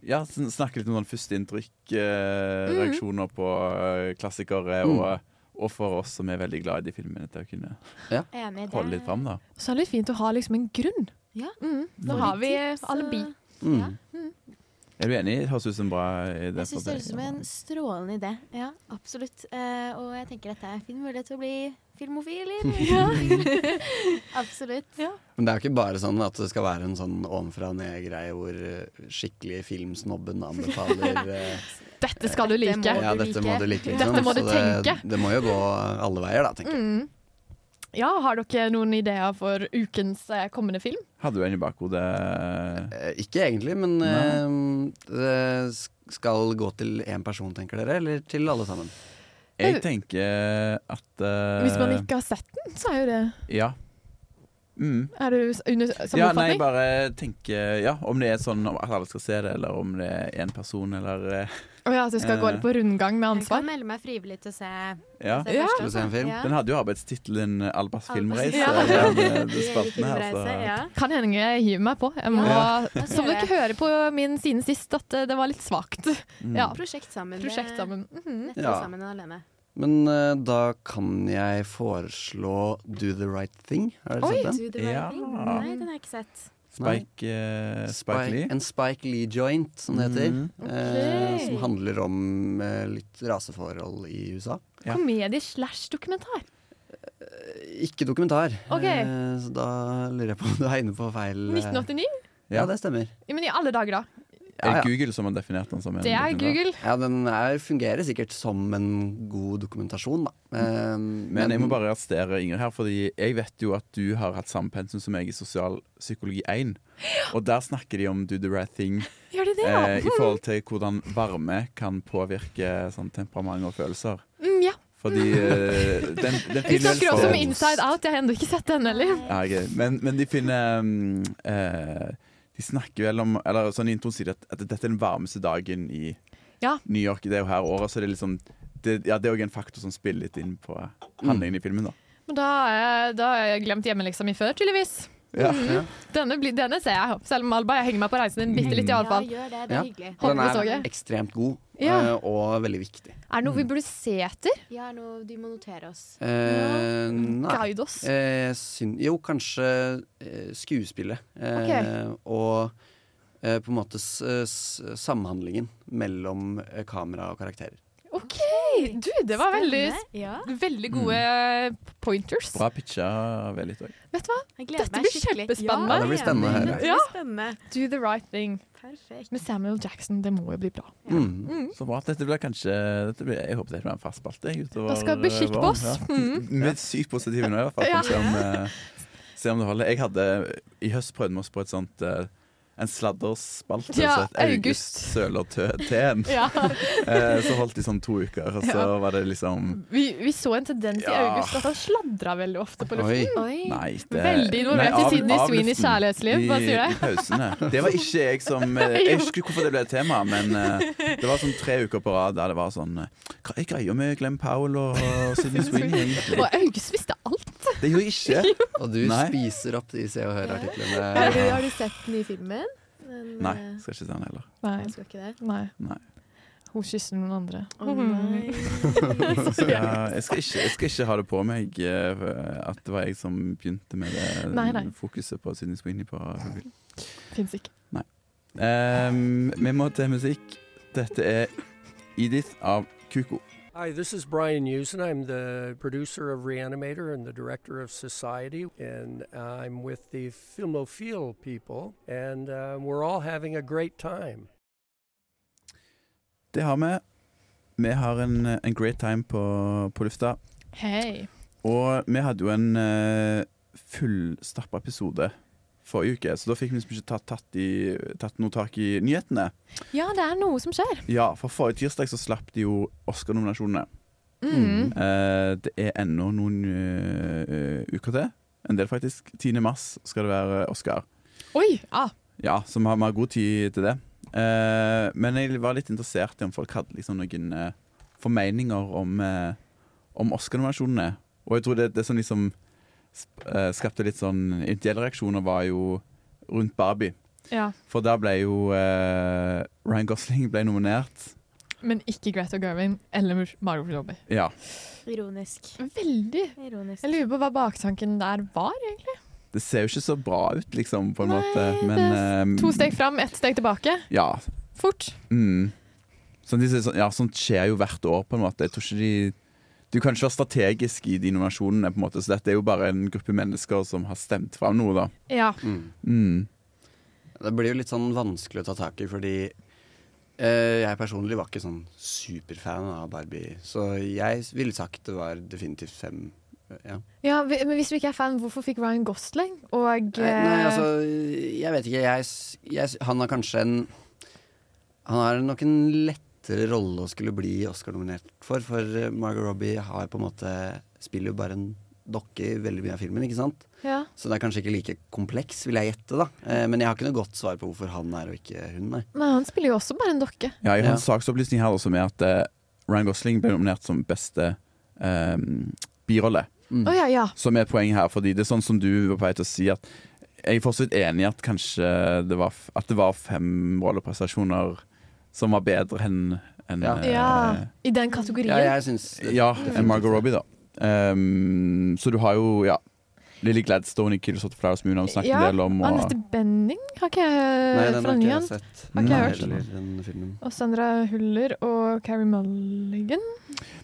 S8: ja, sn- snakke litt om sånn førsteinntrykk, eh,
S9: Mhm.
S8: reaksjoner på eh, klassikere,
S7: Mm.
S8: og, og for oss som er veldig glad i de filmene, til å kunne
S5: Enig, det-
S8: holde litt fram. Da.
S9: Så er det litt fint å ha liksom en grunn. Mm. Nå
S5: Fordi
S9: har vi
S5: tips, eh,
S9: alibi.
S8: Mm.
S5: Mm.
S8: Er du enig? Det Høres ut som en bra idé.
S5: Jeg syns det høres ut som en strålende idé. Ja, absolutt. Eh, og jeg tenker dette er en fin mulighet til å bli filmofil.
S8: [LAUGHS]
S5: eller? [LAUGHS] absolutt.
S7: Men det er jo ikke bare sånn at det skal være en sånn ovenfra og ned-greie hvor eh, skikkelig filmsnobben
S9: [LAUGHS]
S7: anbefaler eh,
S9: Dette skal du like.
S7: Ja, dette må du like. Liksom.
S9: Dette må du
S7: Så
S9: tenke.
S7: Det, det må jo gå alle veier, da, tenker jeg.
S9: Mm. Ja, har dere noen ideer for ukens eh, kommende film?
S8: Hadde du en i bakhodet?
S9: Mm.
S7: Eh, Ikke egentlig, men eh, det sk- skal gå til én person, tenker dere, eller til alle sammen?
S8: Jeg tenker at eh,
S9: Hvis man ikke har sett den, så er jo det
S8: Ja. Mm.
S9: Er du s- under s- samme
S8: ja, nei,
S9: oppfatning?
S8: bare tenke Ja, om det er sånn om at alle skal se det, eller om det er én person, eller eh,
S9: Å ja, at du skal gå
S8: eh,
S9: litt på rundgang med
S5: Jeg kan
S9: ansvar?
S5: melde meg frivillig til å se
S8: Ja.
S5: se første,
S8: Skal vi se en
S5: altså.
S8: film?
S5: Ja.
S8: Den hadde jo arbeidstittelen eh, 'Albas filmreise'.
S9: Ja.
S8: den,
S9: [LAUGHS]
S8: eh,
S5: [LAUGHS]
S8: den spalten her, altså. så.
S9: Kan hende jeg hiver meg på. Jeg må,
S8: Ja.
S9: [LAUGHS]
S8: Ja.
S9: Som dere hører på min siden sist, at eh, det var litt svakt.
S8: Mm.
S9: Ja.
S5: Prosjekt sammen.
S9: Prosjekt sammen. Mhm.
S5: Nettopp
S7: Ja.
S5: sammen alene.
S7: Men eh, da kan jeg foreslå 'Do the right thing'. Har
S5: Oi,
S7: dere
S5: du,
S7: sett
S5: det
S7: den?
S5: var en ting. Nei, den har jeg ikke sett.
S8: Spike, eh, Spike Lee.
S7: En Spike Lee-joint, som det heter.
S8: Mhm.
S7: eh,
S9: Ok.
S7: som handler om eh, litt raseforhold i USA.
S9: Komedie slash dokumentar.
S7: Eh, Ikke dokumentar.
S9: Ok.
S7: Eh, så da lurer jeg på om du er inne på feil eh,
S9: 1989?
S7: Ja, det stemmer.
S9: Ja, Men i alle dager, da.
S8: Er det Google som har definert den som en
S9: Det er
S8: dokumentar?
S9: Google.
S7: Ja, den er, fungerer sikkert som en god dokumentasjon, da. Eh,
S8: Men jeg må bare arrestere Inger her, Fordi jeg vet jo at du har hatt samme pensum som meg i sosialpsykologi 1. Og der snakker de om 'do the right thing'
S9: Gjør de det, ja?
S8: eh, i forhold til hvordan varme kan påvirke sånn, temperament og følelser.
S9: [LAUGHS] Mm, ja. [LAUGHS]
S8: Fordi eh, den, den
S9: Vi
S8: finner
S9: snakker også om Inside Out. Jeg har ennå ikke sett den heller.
S8: Ja, ok. men, men de finner um, eh, De snakker vel om Eller sånn i introen sier de at, at dette er den varmeste dagen i
S9: Ja.
S8: New York. Det er jo her året, så det er liksom det, ja, det er òg en faktor som spiller litt inn på handlingen i filmen. da
S9: Men da har jeg, da har jeg glemt hjemmeleksa mi før, tydeligvis.
S8: Ja.
S9: Mhm.
S8: Ja.
S9: Denne, blir- denne ser jeg, selv om Alba, jeg henger meg på reisen din bitte
S8: Mm.
S9: litt, iallfall.
S7: Ja,
S9: Håper
S7: Den
S9: det så
S7: er
S9: jeg.
S7: ekstremt god,
S9: Ja.
S7: eh, og veldig viktig.
S9: Mm. Er det noe vi burde se etter?
S5: Ja, nå, du må notere oss.
S7: Eh, nei.
S9: Guide oss.
S7: Eh, syn jo, kanskje eh, skuespillet. Eh,
S9: Ok.
S7: Og eh, på en måte s s samhandlingen mellom eh, kamera og karakterer.
S9: OK! Du, det var veldig, veldig gode eh, pointers.
S8: Mm. Bra pitcha veldig òg.
S9: Vet du hva? Dette
S5: meg
S9: blir
S5: skikkelig.
S9: kjempespennende.
S8: Ja, det blir spennende å høre.
S5: Det blir spennende.
S9: Do the right thing.
S5: Perfekt.
S9: Med Samuel Jackson, det må jo bli bra.
S8: Mm. Så bra. Dette blir kanskje dette blir, Jeg håper dette blir en fast spalte. jeg, utover eh,
S9: Da skal vi beskytte
S8: våren,
S9: oss.
S8: ja.
S9: Mm.
S8: Med sykt positive nå, i hvert fall.
S9: Ja.
S8: Se, om, eh, se om det holder. Jeg hadde i høst prøvd meg oss på et sånt eh, en sladderspalte.
S9: Ja,
S8: så et August søler tø- teen.
S9: [LAUGHS] [LAUGHS] Ja.
S8: Eh, så holdt de sånn to uker, og så
S9: Ja.
S8: var det liksom
S9: Vi, vi så en tendens i
S8: Ja.
S9: August at han sladra veldig ofte på luften.
S8: Nei, det,
S9: Veldig
S8: Nei,
S9: involvert i
S8: av-
S9: Sidney
S8: av
S9: Sweeneys
S8: luften.
S9: kjærlighetsliv,
S8: I-
S9: bare sier
S8: I
S9: jeg.
S8: pausene. Det var ikke jeg som eh,
S9: [LAUGHS]
S8: Jeg husker ikke hvorfor det ble et tema, men eh, det var
S5: [LAUGHS]
S8: sånn tre uker på rad der det var sånn eh, Hva er greia med Glenn Powell og Sidney
S9: [LAUGHS]
S8: Sweeney,
S9: Og
S8: egentlig?
S9: August visste alt.
S8: Det gjorde
S9: [LAUGHS]
S8: jeg ikke.
S7: Og du
S8: Nei.
S7: spiser opp de Se og
S15: Har du,
S7: Hør-artiklene.
S15: har du sett den nye filmen? Den,
S8: Nei,
S15: eh,
S8: skal ikke se den heller.
S9: Nei.
S15: Jeg skal ikke det.
S9: Nei.
S8: Nei.
S9: Hun kysser noen andre.
S15: Å, nei.
S9: Så
S8: Så [LAUGHS]
S9: søt.
S8: jeg, jeg, skal ikke, jeg skal ikke ha det på meg eh, at det var jeg som begynte med det
S9: Nei, nei.
S8: fokuset på Sidney Sweeney på Hugel.
S9: Fins ikke.
S8: Nei. Ehm, vi må til musikk. Dette er Edith av Kuko.
S16: Hi, this is Brian Usen. I'm the producer of Reanimator and the director of Society, and I'm with the Filmophile people, and uh, we're all having a great time.
S8: Det har vi. Vi har en, en great time på, på lufta.
S9: Hei.
S8: Og vi hadde jo en uh, fullstappa episode forrige uke, så da fikk vi liksom ikke tatt, tatt, i, tatt noe tak i nyhetene.
S9: Ja, det er noe som skjer.
S8: Ja, for forrige tirsdag så slapp de jo Oscar-nominasjonene.
S9: Mm.
S8: Eh, det er ennå noen eh, uker til. En del, faktisk. 10. mars skal det være Oscar.
S9: Oi! Ah.
S8: Ja, så vi har, vi har god tid til det. Eh, men jeg var litt interessert i om folk hadde liksom noen eh, formeninger om, eh, om Oscar-nominasjonene. Og jeg tror det, det som liksom sp- eh, skapte litt sånn ideelle reaksjoner, var jo rundt Barbie.
S9: Ja.
S8: For der ble jo eh, Ryan Gosling ble nominert.
S9: Men ikke Greta Gerwin eller Margot Robbie.
S8: Ja.
S9: Ironisk. Veldig. Jeg lurer på hva baktanken der var, egentlig.
S8: Det ser jo ikke så bra ut, liksom, på en måte. Men eh,
S7: Mm.
S9: To steg fram, ett steg tilbake.
S8: Ja.
S9: Fort.
S8: Mm. Sånn, de, sier sånn, ja, sånt skjer jo hvert år, på en måte. Jeg tror ikke de Du kan ikke være strategisk i de nominasjonene, på en måte. Så dette er jo bare en gruppe mennesker som har stemt fram noe, da.
S9: Ja.
S8: Mm.
S7: Det blir jo litt sånn vanskelig å ta tak i, fordi eh, jeg personlig var ikke sånn superfan av Barbie. Så jeg ville sagt det var definitivt fem. Ja.
S9: Ja, vi- men Hvis du ikke er fan, hvorfor fikk Ryan Gosling og
S7: Nei, nei,
S9: eh,
S7: altså, jeg vet ikke. Jeg, s- jeg, s- han har kanskje en Han har nok en lettere rolle å skulle bli Oscar-nominert for, for eh, Margot Robbie har på en måte spiller jo bare en dokke i veldig mye av filmen, ikke sant?
S9: Ja.
S7: Så det er kanskje ikke like kompleks, vil jeg gjette, da. Eh, men jeg har ikke noe godt svar på hvorfor han er og ikke hun, nei.
S9: Men han spiller jo også bare en dokke.
S8: Ja, jeg har en saksopplysning her også med at eh, Ryan Gosling ble nominert som beste eh, birolle.
S7: Mm.
S9: Å, ja, ja.
S8: Som er et poeng her, fordi det er sånn som du var på vei til å si at jeg er fortsatt enig i at kanskje det var, f- at det var fem rolleprestasjoner som var bedre enn enn,
S9: Ja.
S8: eh,
S9: I den kategorien.
S8: Ja, enn Margot Robbie, da. Um, så du har jo, ja Lily Gladstone i 'Killers of the Flowers Moon' har vi snakket
S9: Ja,
S8: en del om. Og,
S9: Anette Benning har ikke jeg
S7: Nei, den
S9: Eh, fra
S7: har ikke jeg
S9: Nyhavn.
S7: sett.
S9: Har ikke jeg
S7: Heller,
S9: hørt.
S7: den filmen.
S9: Og Sandra Huller og Carrie Mulligan.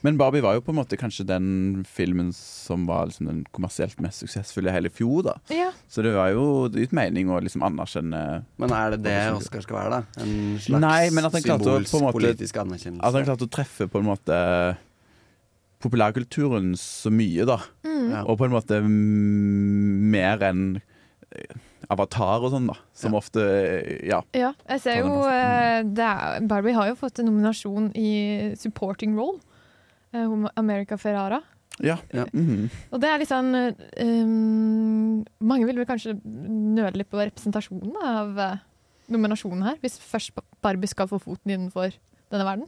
S8: men Barbie var jo på en måte kanskje den filmen som var liksom den kommersielt mest suksessfulle i hele fjor, da.
S9: Ja.
S8: Så det var jo det gitt mening å liksom anerkjenne
S7: Men er det det Oscar skal være, da? En slags
S8: Nei, men at han klarte å,
S7: symbolsk
S8: på en måte,
S7: politisk anerkjennelse?
S8: At han klarte å treffe på en måte populærkulturen så mye, da.
S7: Mm. Ja.
S8: Og på en måte mm, mer enn eh, Avatar og sånn, da. Som ofte eh, Ja.
S9: Ja, jeg ser jo eh, det er, Barbie har jo fått en nominasjon i supporting role. eh, hun- America Ferrara.
S8: Ja.
S7: Mm.
S8: Mhm.
S9: Og det er litt sånn eh, um, Mange vil vel kanskje nøle litt på representasjonen av eh, nominasjonen her, hvis først Barbie skal få foten innenfor denne verden.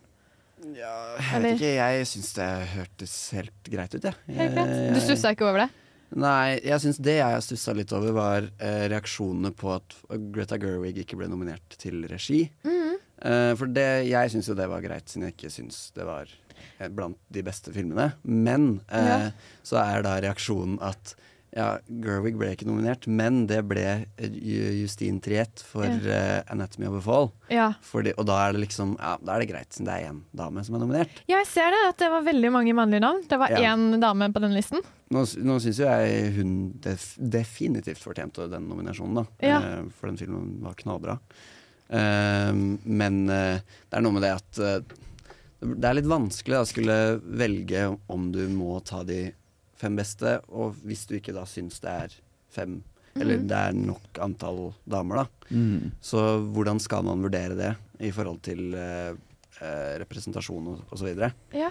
S7: Jeg vet ikke, jeg syns det hørtes helt greit ut, jeg.
S9: Helt
S7: Eh.
S9: greit. Du stussa ikke over det?
S7: Nei, jeg syns det jeg stussa litt over, var eh, reaksjonene på at Greta Gerwig ikke ble nominert til regi.
S9: Mhm.
S7: Eh, for det, jeg syns jo det var greit, siden jeg ikke syns det var eh, blant de beste filmene. Men eh,
S9: Ja.
S7: så er da reaksjonen at ja, Gerwig ble ikke nominert, men det ble eh, Ju- Justine Triet for
S9: Ja.
S7: eh, 'Anatomy of a Fall'.
S9: Ja.
S7: Fordi, og da er det liksom Ja, da er det greit, siden det er én dame som er nominert.
S9: Ja, jeg ser det, at det var veldig mange mannlige navn. Det var
S7: Ja.
S9: én dame på den listen.
S7: Nå, s- nå syns jo jeg hun def definitivt fortjente den nominasjonen, da.
S9: Ja.
S7: Eh, for den filmen var knallbra. Eh, men eh, det er noe med det at eh, det er litt vanskelig da, å skulle velge om du må ta de fem beste, og hvis du ikke da syns det er fem, eller
S9: Mhm.
S7: det er nok antall damer, da.
S8: Mhm.
S7: Så hvordan skal man vurdere det i forhold til eh, eh, representasjon og, og så videre?
S9: Ja.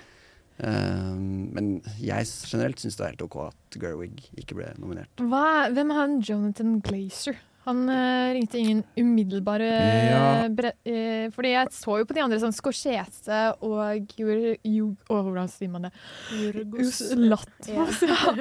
S7: Eh, men jeg s- generelt syns det er helt ok at Gerwig ikke ble nominert.
S9: Hva, hvem er han Jonathan Glazer? Han eh, ringte ingen umiddelbare
S7: Ja.
S9: bre eh, Fordi jeg så jo på de andre sånn Scorsese og Jur... Jug- Å, hvordan sier man det?
S15: Jorgos.
S9: Jus- Latmos, [LAUGHS] ja.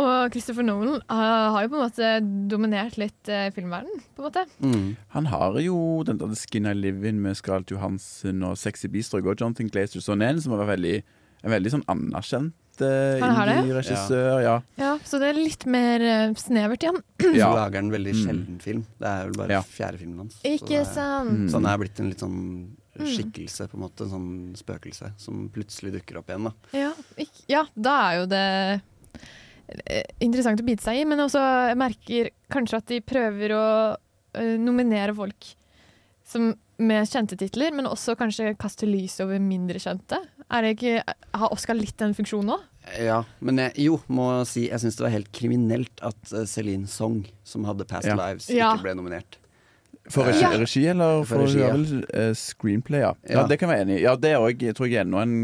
S9: Og Christopher Nolan eh, har jo på en måte dominert litt uh, filmverdenen, på en måte.
S8: Han har jo den der Skin I Live In med Scarlett Johansen og Sexy Beastrog og Jonathan Glazer, så han er en som har vært veldig, en veldig sånn anerkjent eh,
S9: Han har det, ja.
S8: indie-regissør. Ja.
S9: Ja, Så det er lilitt mer eh, snevert igjen.
S7: [CLEARS THROAT] Så lager han veldig sjelden film. Det er vel bare fjerde filmen hans.
S9: Ikke
S7: Så det er- Mm.
S9: sant.
S7: Så han er blitt en litt sånn
S9: Mm.
S7: skikkelse, på en måte. En sånn spøkelse som plutselig dukker opp igjen, da.
S9: Ja, ikk- ja, da er jo det eh, interessant å bite seg i, men også jeg merker kanskje at de prøver å eh, nominere folk som, med kjente titler, men også kanskje kaste lys over mindre kjente. Er det ikke, eh, har Oscar litt den funksjonen òg?
S7: Ja, men jeg, jo, må si jeg syns det var helt kriminelt at eh, Celine Song, som hadde Past
S8: Ja.
S7: Lives,
S9: Ja.
S7: ikke ble nominert.
S8: For regi,
S7: Ja.
S8: regi eller
S7: For
S8: for,
S7: regi, ja.
S8: ja. vel, eh, screenplay, ja. ja.
S7: Ja.
S8: Det kan jeg være enig i. Ja, det er også, jeg tror jeg er ennå en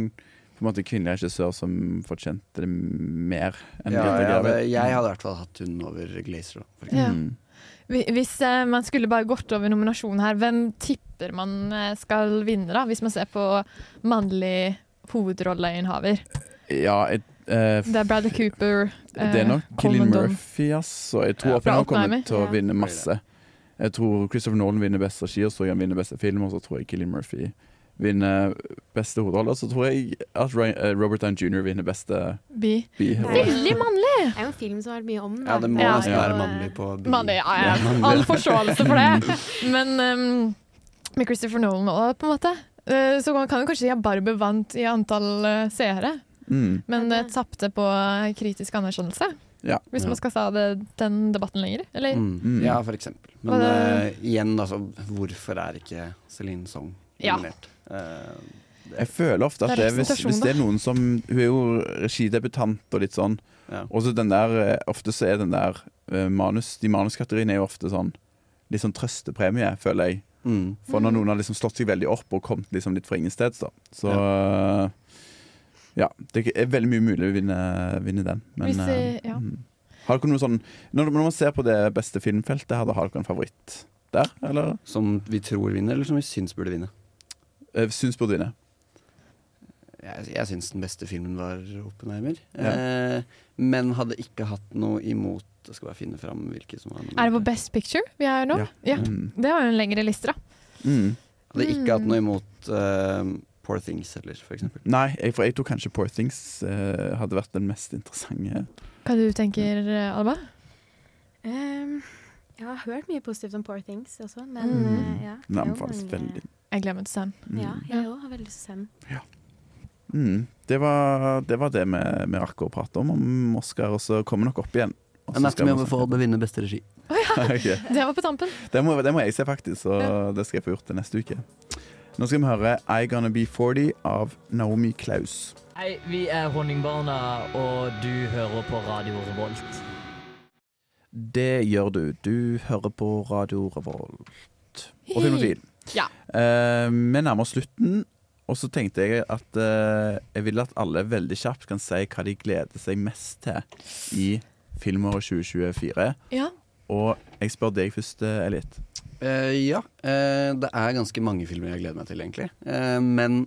S8: på en måte kvinnelig regissør som fortjente det mer enn
S7: Ja,
S8: Greta
S7: jeg
S8: Gerwig.
S7: hadde, jeg hadde i hvert fall hatt hun over Glazer, da.
S9: Ja.
S7: for eksempel.
S8: Mm.
S9: Hvi- Hvis eh, man skulle bare gått over nominasjonen her, hvem tipper man eh, skal vinne, da? Hvis man ser på mannlig hovedrolleinnehaver.
S8: Ja, jeg, eh, f-
S9: Det er Bradley Cooper. eh,
S8: det er nok Killian
S9: Coleman Dodd.
S8: Murphy, altså. Jeg tror
S9: Ja, fra
S8: Oppenheimer kommer
S9: Oppenheimer.
S8: til å
S9: Ja.
S8: vinne masse. Jeg tror Christopher Nolan vinner best regi, og så tror jeg han vinner beste film, og så tror jeg Killian Murphy vinner beste hovedrolle. Og så tror jeg at Ryan- eh, Robert Down jr. vinner beste
S9: Bi.
S8: birolle.
S9: mannlig!
S5: Det er jo en film som har vært mye om
S7: Ja, det må
S9: Ja.
S7: nesten
S9: Ja.
S7: være mannlig på bi.
S9: Man, ja, ja,
S7: Ja, mannlig.
S9: all forståelse for
S7: [LAUGHS]
S9: det. Men um, med Christopher Nolan òg, på en måte. Eh, Så kan du kanskje si at Barbie vant i antall eh, seere,
S8: Mm.
S9: men uh, tapte på kritisk anerkjennelse.
S8: Ja.
S9: Hvis
S7: Ja.
S9: man skal ta det, den debatten lenger, eller?
S7: Mm. Ja, for eksempel. Men
S9: Hva-
S7: eh, igjen, altså, hvorfor er ikke Celine Song
S9: Ja.
S7: nominert? Eh, det-
S8: Jeg føler ofte at
S7: Det
S8: det
S7: er
S8: er hvis,
S7: representasjon,
S8: hvis det er
S7: da.
S8: noen som Hun er jo regidebutant og litt sånn. Og så den der eh, Ofte så er den der eh, manus De manuskategoriene er jo ofte sånn litt sånn trøstepremie, føler jeg.
S7: Mm.
S8: For når noen har liksom slått seg veldig opp og kommet liksom litt fra ingensteds, da. Så Ja, det er veldig mye mulig å vinne, vinne den. Men,
S9: Hvis, eh, ja.
S8: mm. Har dere noe sånn når, når man ser på det beste filmfeltet her, da har dere en favoritt der, eller?
S7: Som vi tror vinner, eller som vi syns burde vinne?
S8: Eh, syns burde vinne.
S7: Jeg, jeg syns den beste filmen var Oppenheimer. Eh, men hadde ikke hatt noe imot Jeg skal bare finne fram hvilke som var
S9: Er det på Best Picture vi er nå?
S7: Ja.
S9: Ja.
S7: Mm.
S9: Det var jo en lengre liste, da.
S7: Hadde
S9: Mm.
S7: ikke hatt noe imot eh, Poor Things heller, for eksempel.
S8: Nei, jeg, for jeg tror kanskje Poor Things eh, hadde vært den mest interessante.
S9: Hva du tenker, eh, Alba?
S5: Ehm, jeg har hørt mye positivt om Poor Things også, men
S8: Mm.
S5: eh, ja.
S8: Den
S5: det er jo
S8: anbefales
S5: mange-
S8: veldig.
S9: Jeg glemmer til Sam.
S5: Ja, jeg òg har veldig lyst til å se den.
S8: Mm. Det, var, det var det vi, vi rakk å prate om om Oscar, og så kommer nok opp igjen. Og så
S7: Anatomy
S8: skal vi
S7: of a
S8: snakke.
S7: Fall bør vinne beste regi.
S8: [LAUGHS] Ok.
S9: Det var på tampen.
S8: Det må, det må jeg se, faktisk, så det skal jeg få gjort det neste uke. Nå skal vi høre I Gonna Be 40 av Naomi Klaus.
S17: Hei, vi er Honningbarna, og du hører på Radio Revolt.
S8: Det gjør du. Du hører på Radio Revolt og Filmofil.
S9: Ja.
S8: Eh, vi nærmer oss slutten, og så tenkte jeg at eh, jeg vil at alle veldig kjapt kan si hva de gleder seg mest til i filmåret 2024.
S9: Ja.
S8: Og jeg spør deg først, eh, Elit.
S7: Eh, ja. eh, det er ganske mange filmer jeg gleder meg til, egentlig. Eh, men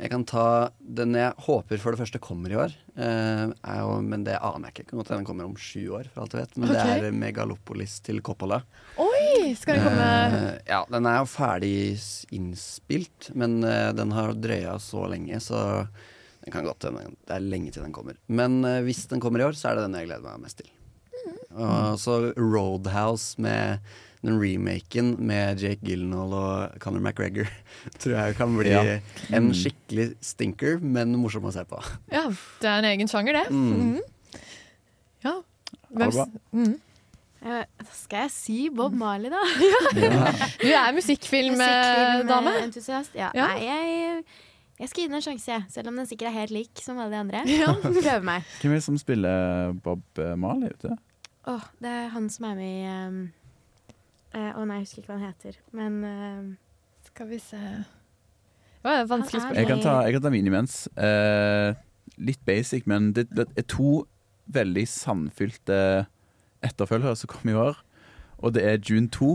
S7: jeg kan ta den jeg håper for det første kommer i år. eh, er jo, men det aner jeg ikke. Kan godt hende den kommer om sju år, for alt jeg vet. Men
S9: Ok.
S7: det er Megalopolis til Coppola.
S9: Oi! Skal det komme
S7: Eh, ja, den er jo ferdig s- innspilt, men eh, den har drøya så lenge, så den kan godt hende. Det er lenge til den kommer. Men eh, hvis den kommer i år, så er det den jeg gleder meg mest til.
S9: Mm.
S7: Og så Roadhouse med den remaken med Jake Gyllenhaal og Conor McGregor [LAUGHS] tror jeg kan bli
S8: Ja.
S7: en
S8: Mm.
S7: skikkelig stinker, men morsom å se på.
S9: Ja, det er en egen sjanger, det.
S7: Mm.
S9: Mhm. Ja.
S7: Alba?
S9: s- mhm.
S5: Eh, da skal jeg si Bob
S9: Mm. [LAUGHS]
S5: Marley, da?
S9: Du er musikkfilmdame.
S5: Musikkfilmentusiast. Ja.
S9: Ja.
S5: Nei, jeg, jeg skal gi den en sjanse, jeg. Selv om den sikkert er helt lik som alle de andre.
S9: [LAUGHS]
S5: [LAUGHS]
S9: Ja.
S5: Prøve meg.
S8: Hvem er det som spiller Bob eh, Marley ute?
S5: Åh, det er han som er med i um, eh, Å nei, jeg husker ikke hva han heter. Men um,
S9: Skal vi se Det var et vanskelig
S5: Han er
S8: Jeg
S9: spørsmål.
S8: kan ta, jeg kan ta min imens. Eh, litt basic, men det, det er to veldig sandfylte etterfølgere som kom i år. Og det er June 2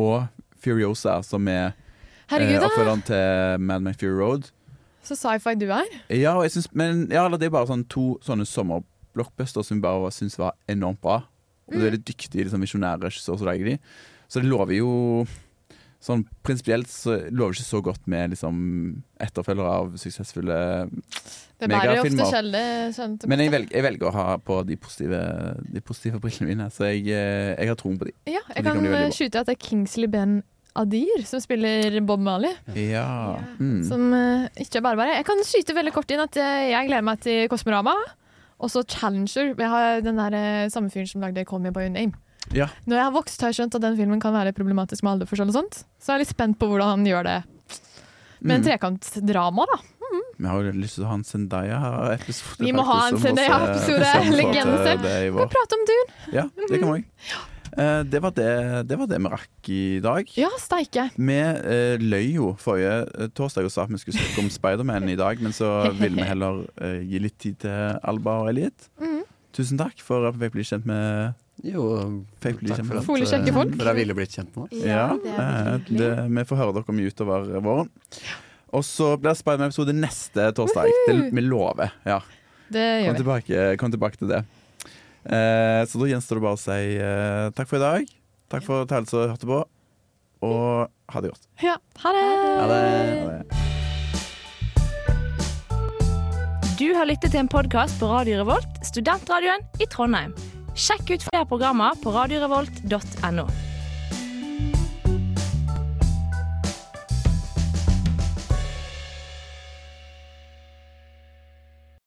S8: og Furiosa, som er eh,
S9: Herregud, da.
S8: oppfølgeren til Mad Max Fury Road.
S9: Så sci-fi du er.
S8: Ja, og jeg synes, men ja, eller det er bare sånn to sånne sommerblockbuster som jeg bare syns var enormt bra. Og det er
S9: Mm.
S8: litt dyktige liksom, visjonære regissører som lager de. Så det lover jo Sånn prinsipielt så lover det ikke så godt med liksom, etterfølgere av suksessfulle
S9: Det bærer jo ofte
S8: megafilmer.
S9: skjelle. skjønte
S8: Men jeg
S9: godt,
S8: velger, jeg velger å ha på de positive, de positive brillene mine, så jeg, eh, jeg har troen på de.
S9: da. Ja,
S8: Og de
S9: jeg
S8: kan
S9: kan
S8: bli veldig
S9: eh, skyte at det er Kingsley Ben Adir som spiller Bob Marley.
S8: bra. Ja. Mm.
S9: Som eh, ikke er bare bare. Jeg kan skyte veldig kort inn at eh, jeg gleder meg til Kosmorama. Og så Challenger. Jeg har den der, eh, samme fyren som lagde Call Me By Your Name.
S8: ja.
S9: Når jeg har vokst, har jeg skjønt at den filmen kan være problematisk med alderforskjell og sånt. Så jeg er litt spent på hvordan han gjør det. Med
S8: Mm.
S9: en trekantdrama, da. Mm.
S8: Vi har jo lyst til å ha en Zendaya-episode.
S9: Vi må ha
S8: faktisk,
S9: en
S8: som
S9: Zendaya-episode,
S8: også- som også-
S9: legende selv.
S8: det er i
S9: Vi
S8: vår.
S9: kan prate om Dune.
S8: Ja, det kan vi òg. Eh, Det var det, det var det vi rakk i dag.
S9: Ja, steike.
S8: Vi eh, løy jo forrige eh, torsdag og sa at vi skulle snakke om Spiderman i dag, men så ville vi heller eh, gi litt tid til Alba og Elliot.
S9: Mhm.
S8: Tusen takk for at vi fikk bli kjent med
S7: Jo,
S8: fikk bli
S7: takk
S8: kjent
S7: for
S8: med
S7: at eh, dere ville blitt kjent med oss.
S8: Ja, eh, det, vi får høre dere mye utover våren. Og så blir det Spiderman-episode neste torsdag. Det, vi lover. ja
S9: Det
S8: Kom
S9: gjør vi.
S8: tilbake, kom tilbake til det. Eh, så da gjenstår det bare å si eh, takk for i dag. Takk for at alle som hørte på, og ha det godt.
S9: Ja. Ha det!
S8: Ha det.
S18: Du har lyttet til en podkast på Radio Revolt, studentradioen i Trondheim. Sjekk ut flere programmer på radiorevolt.no.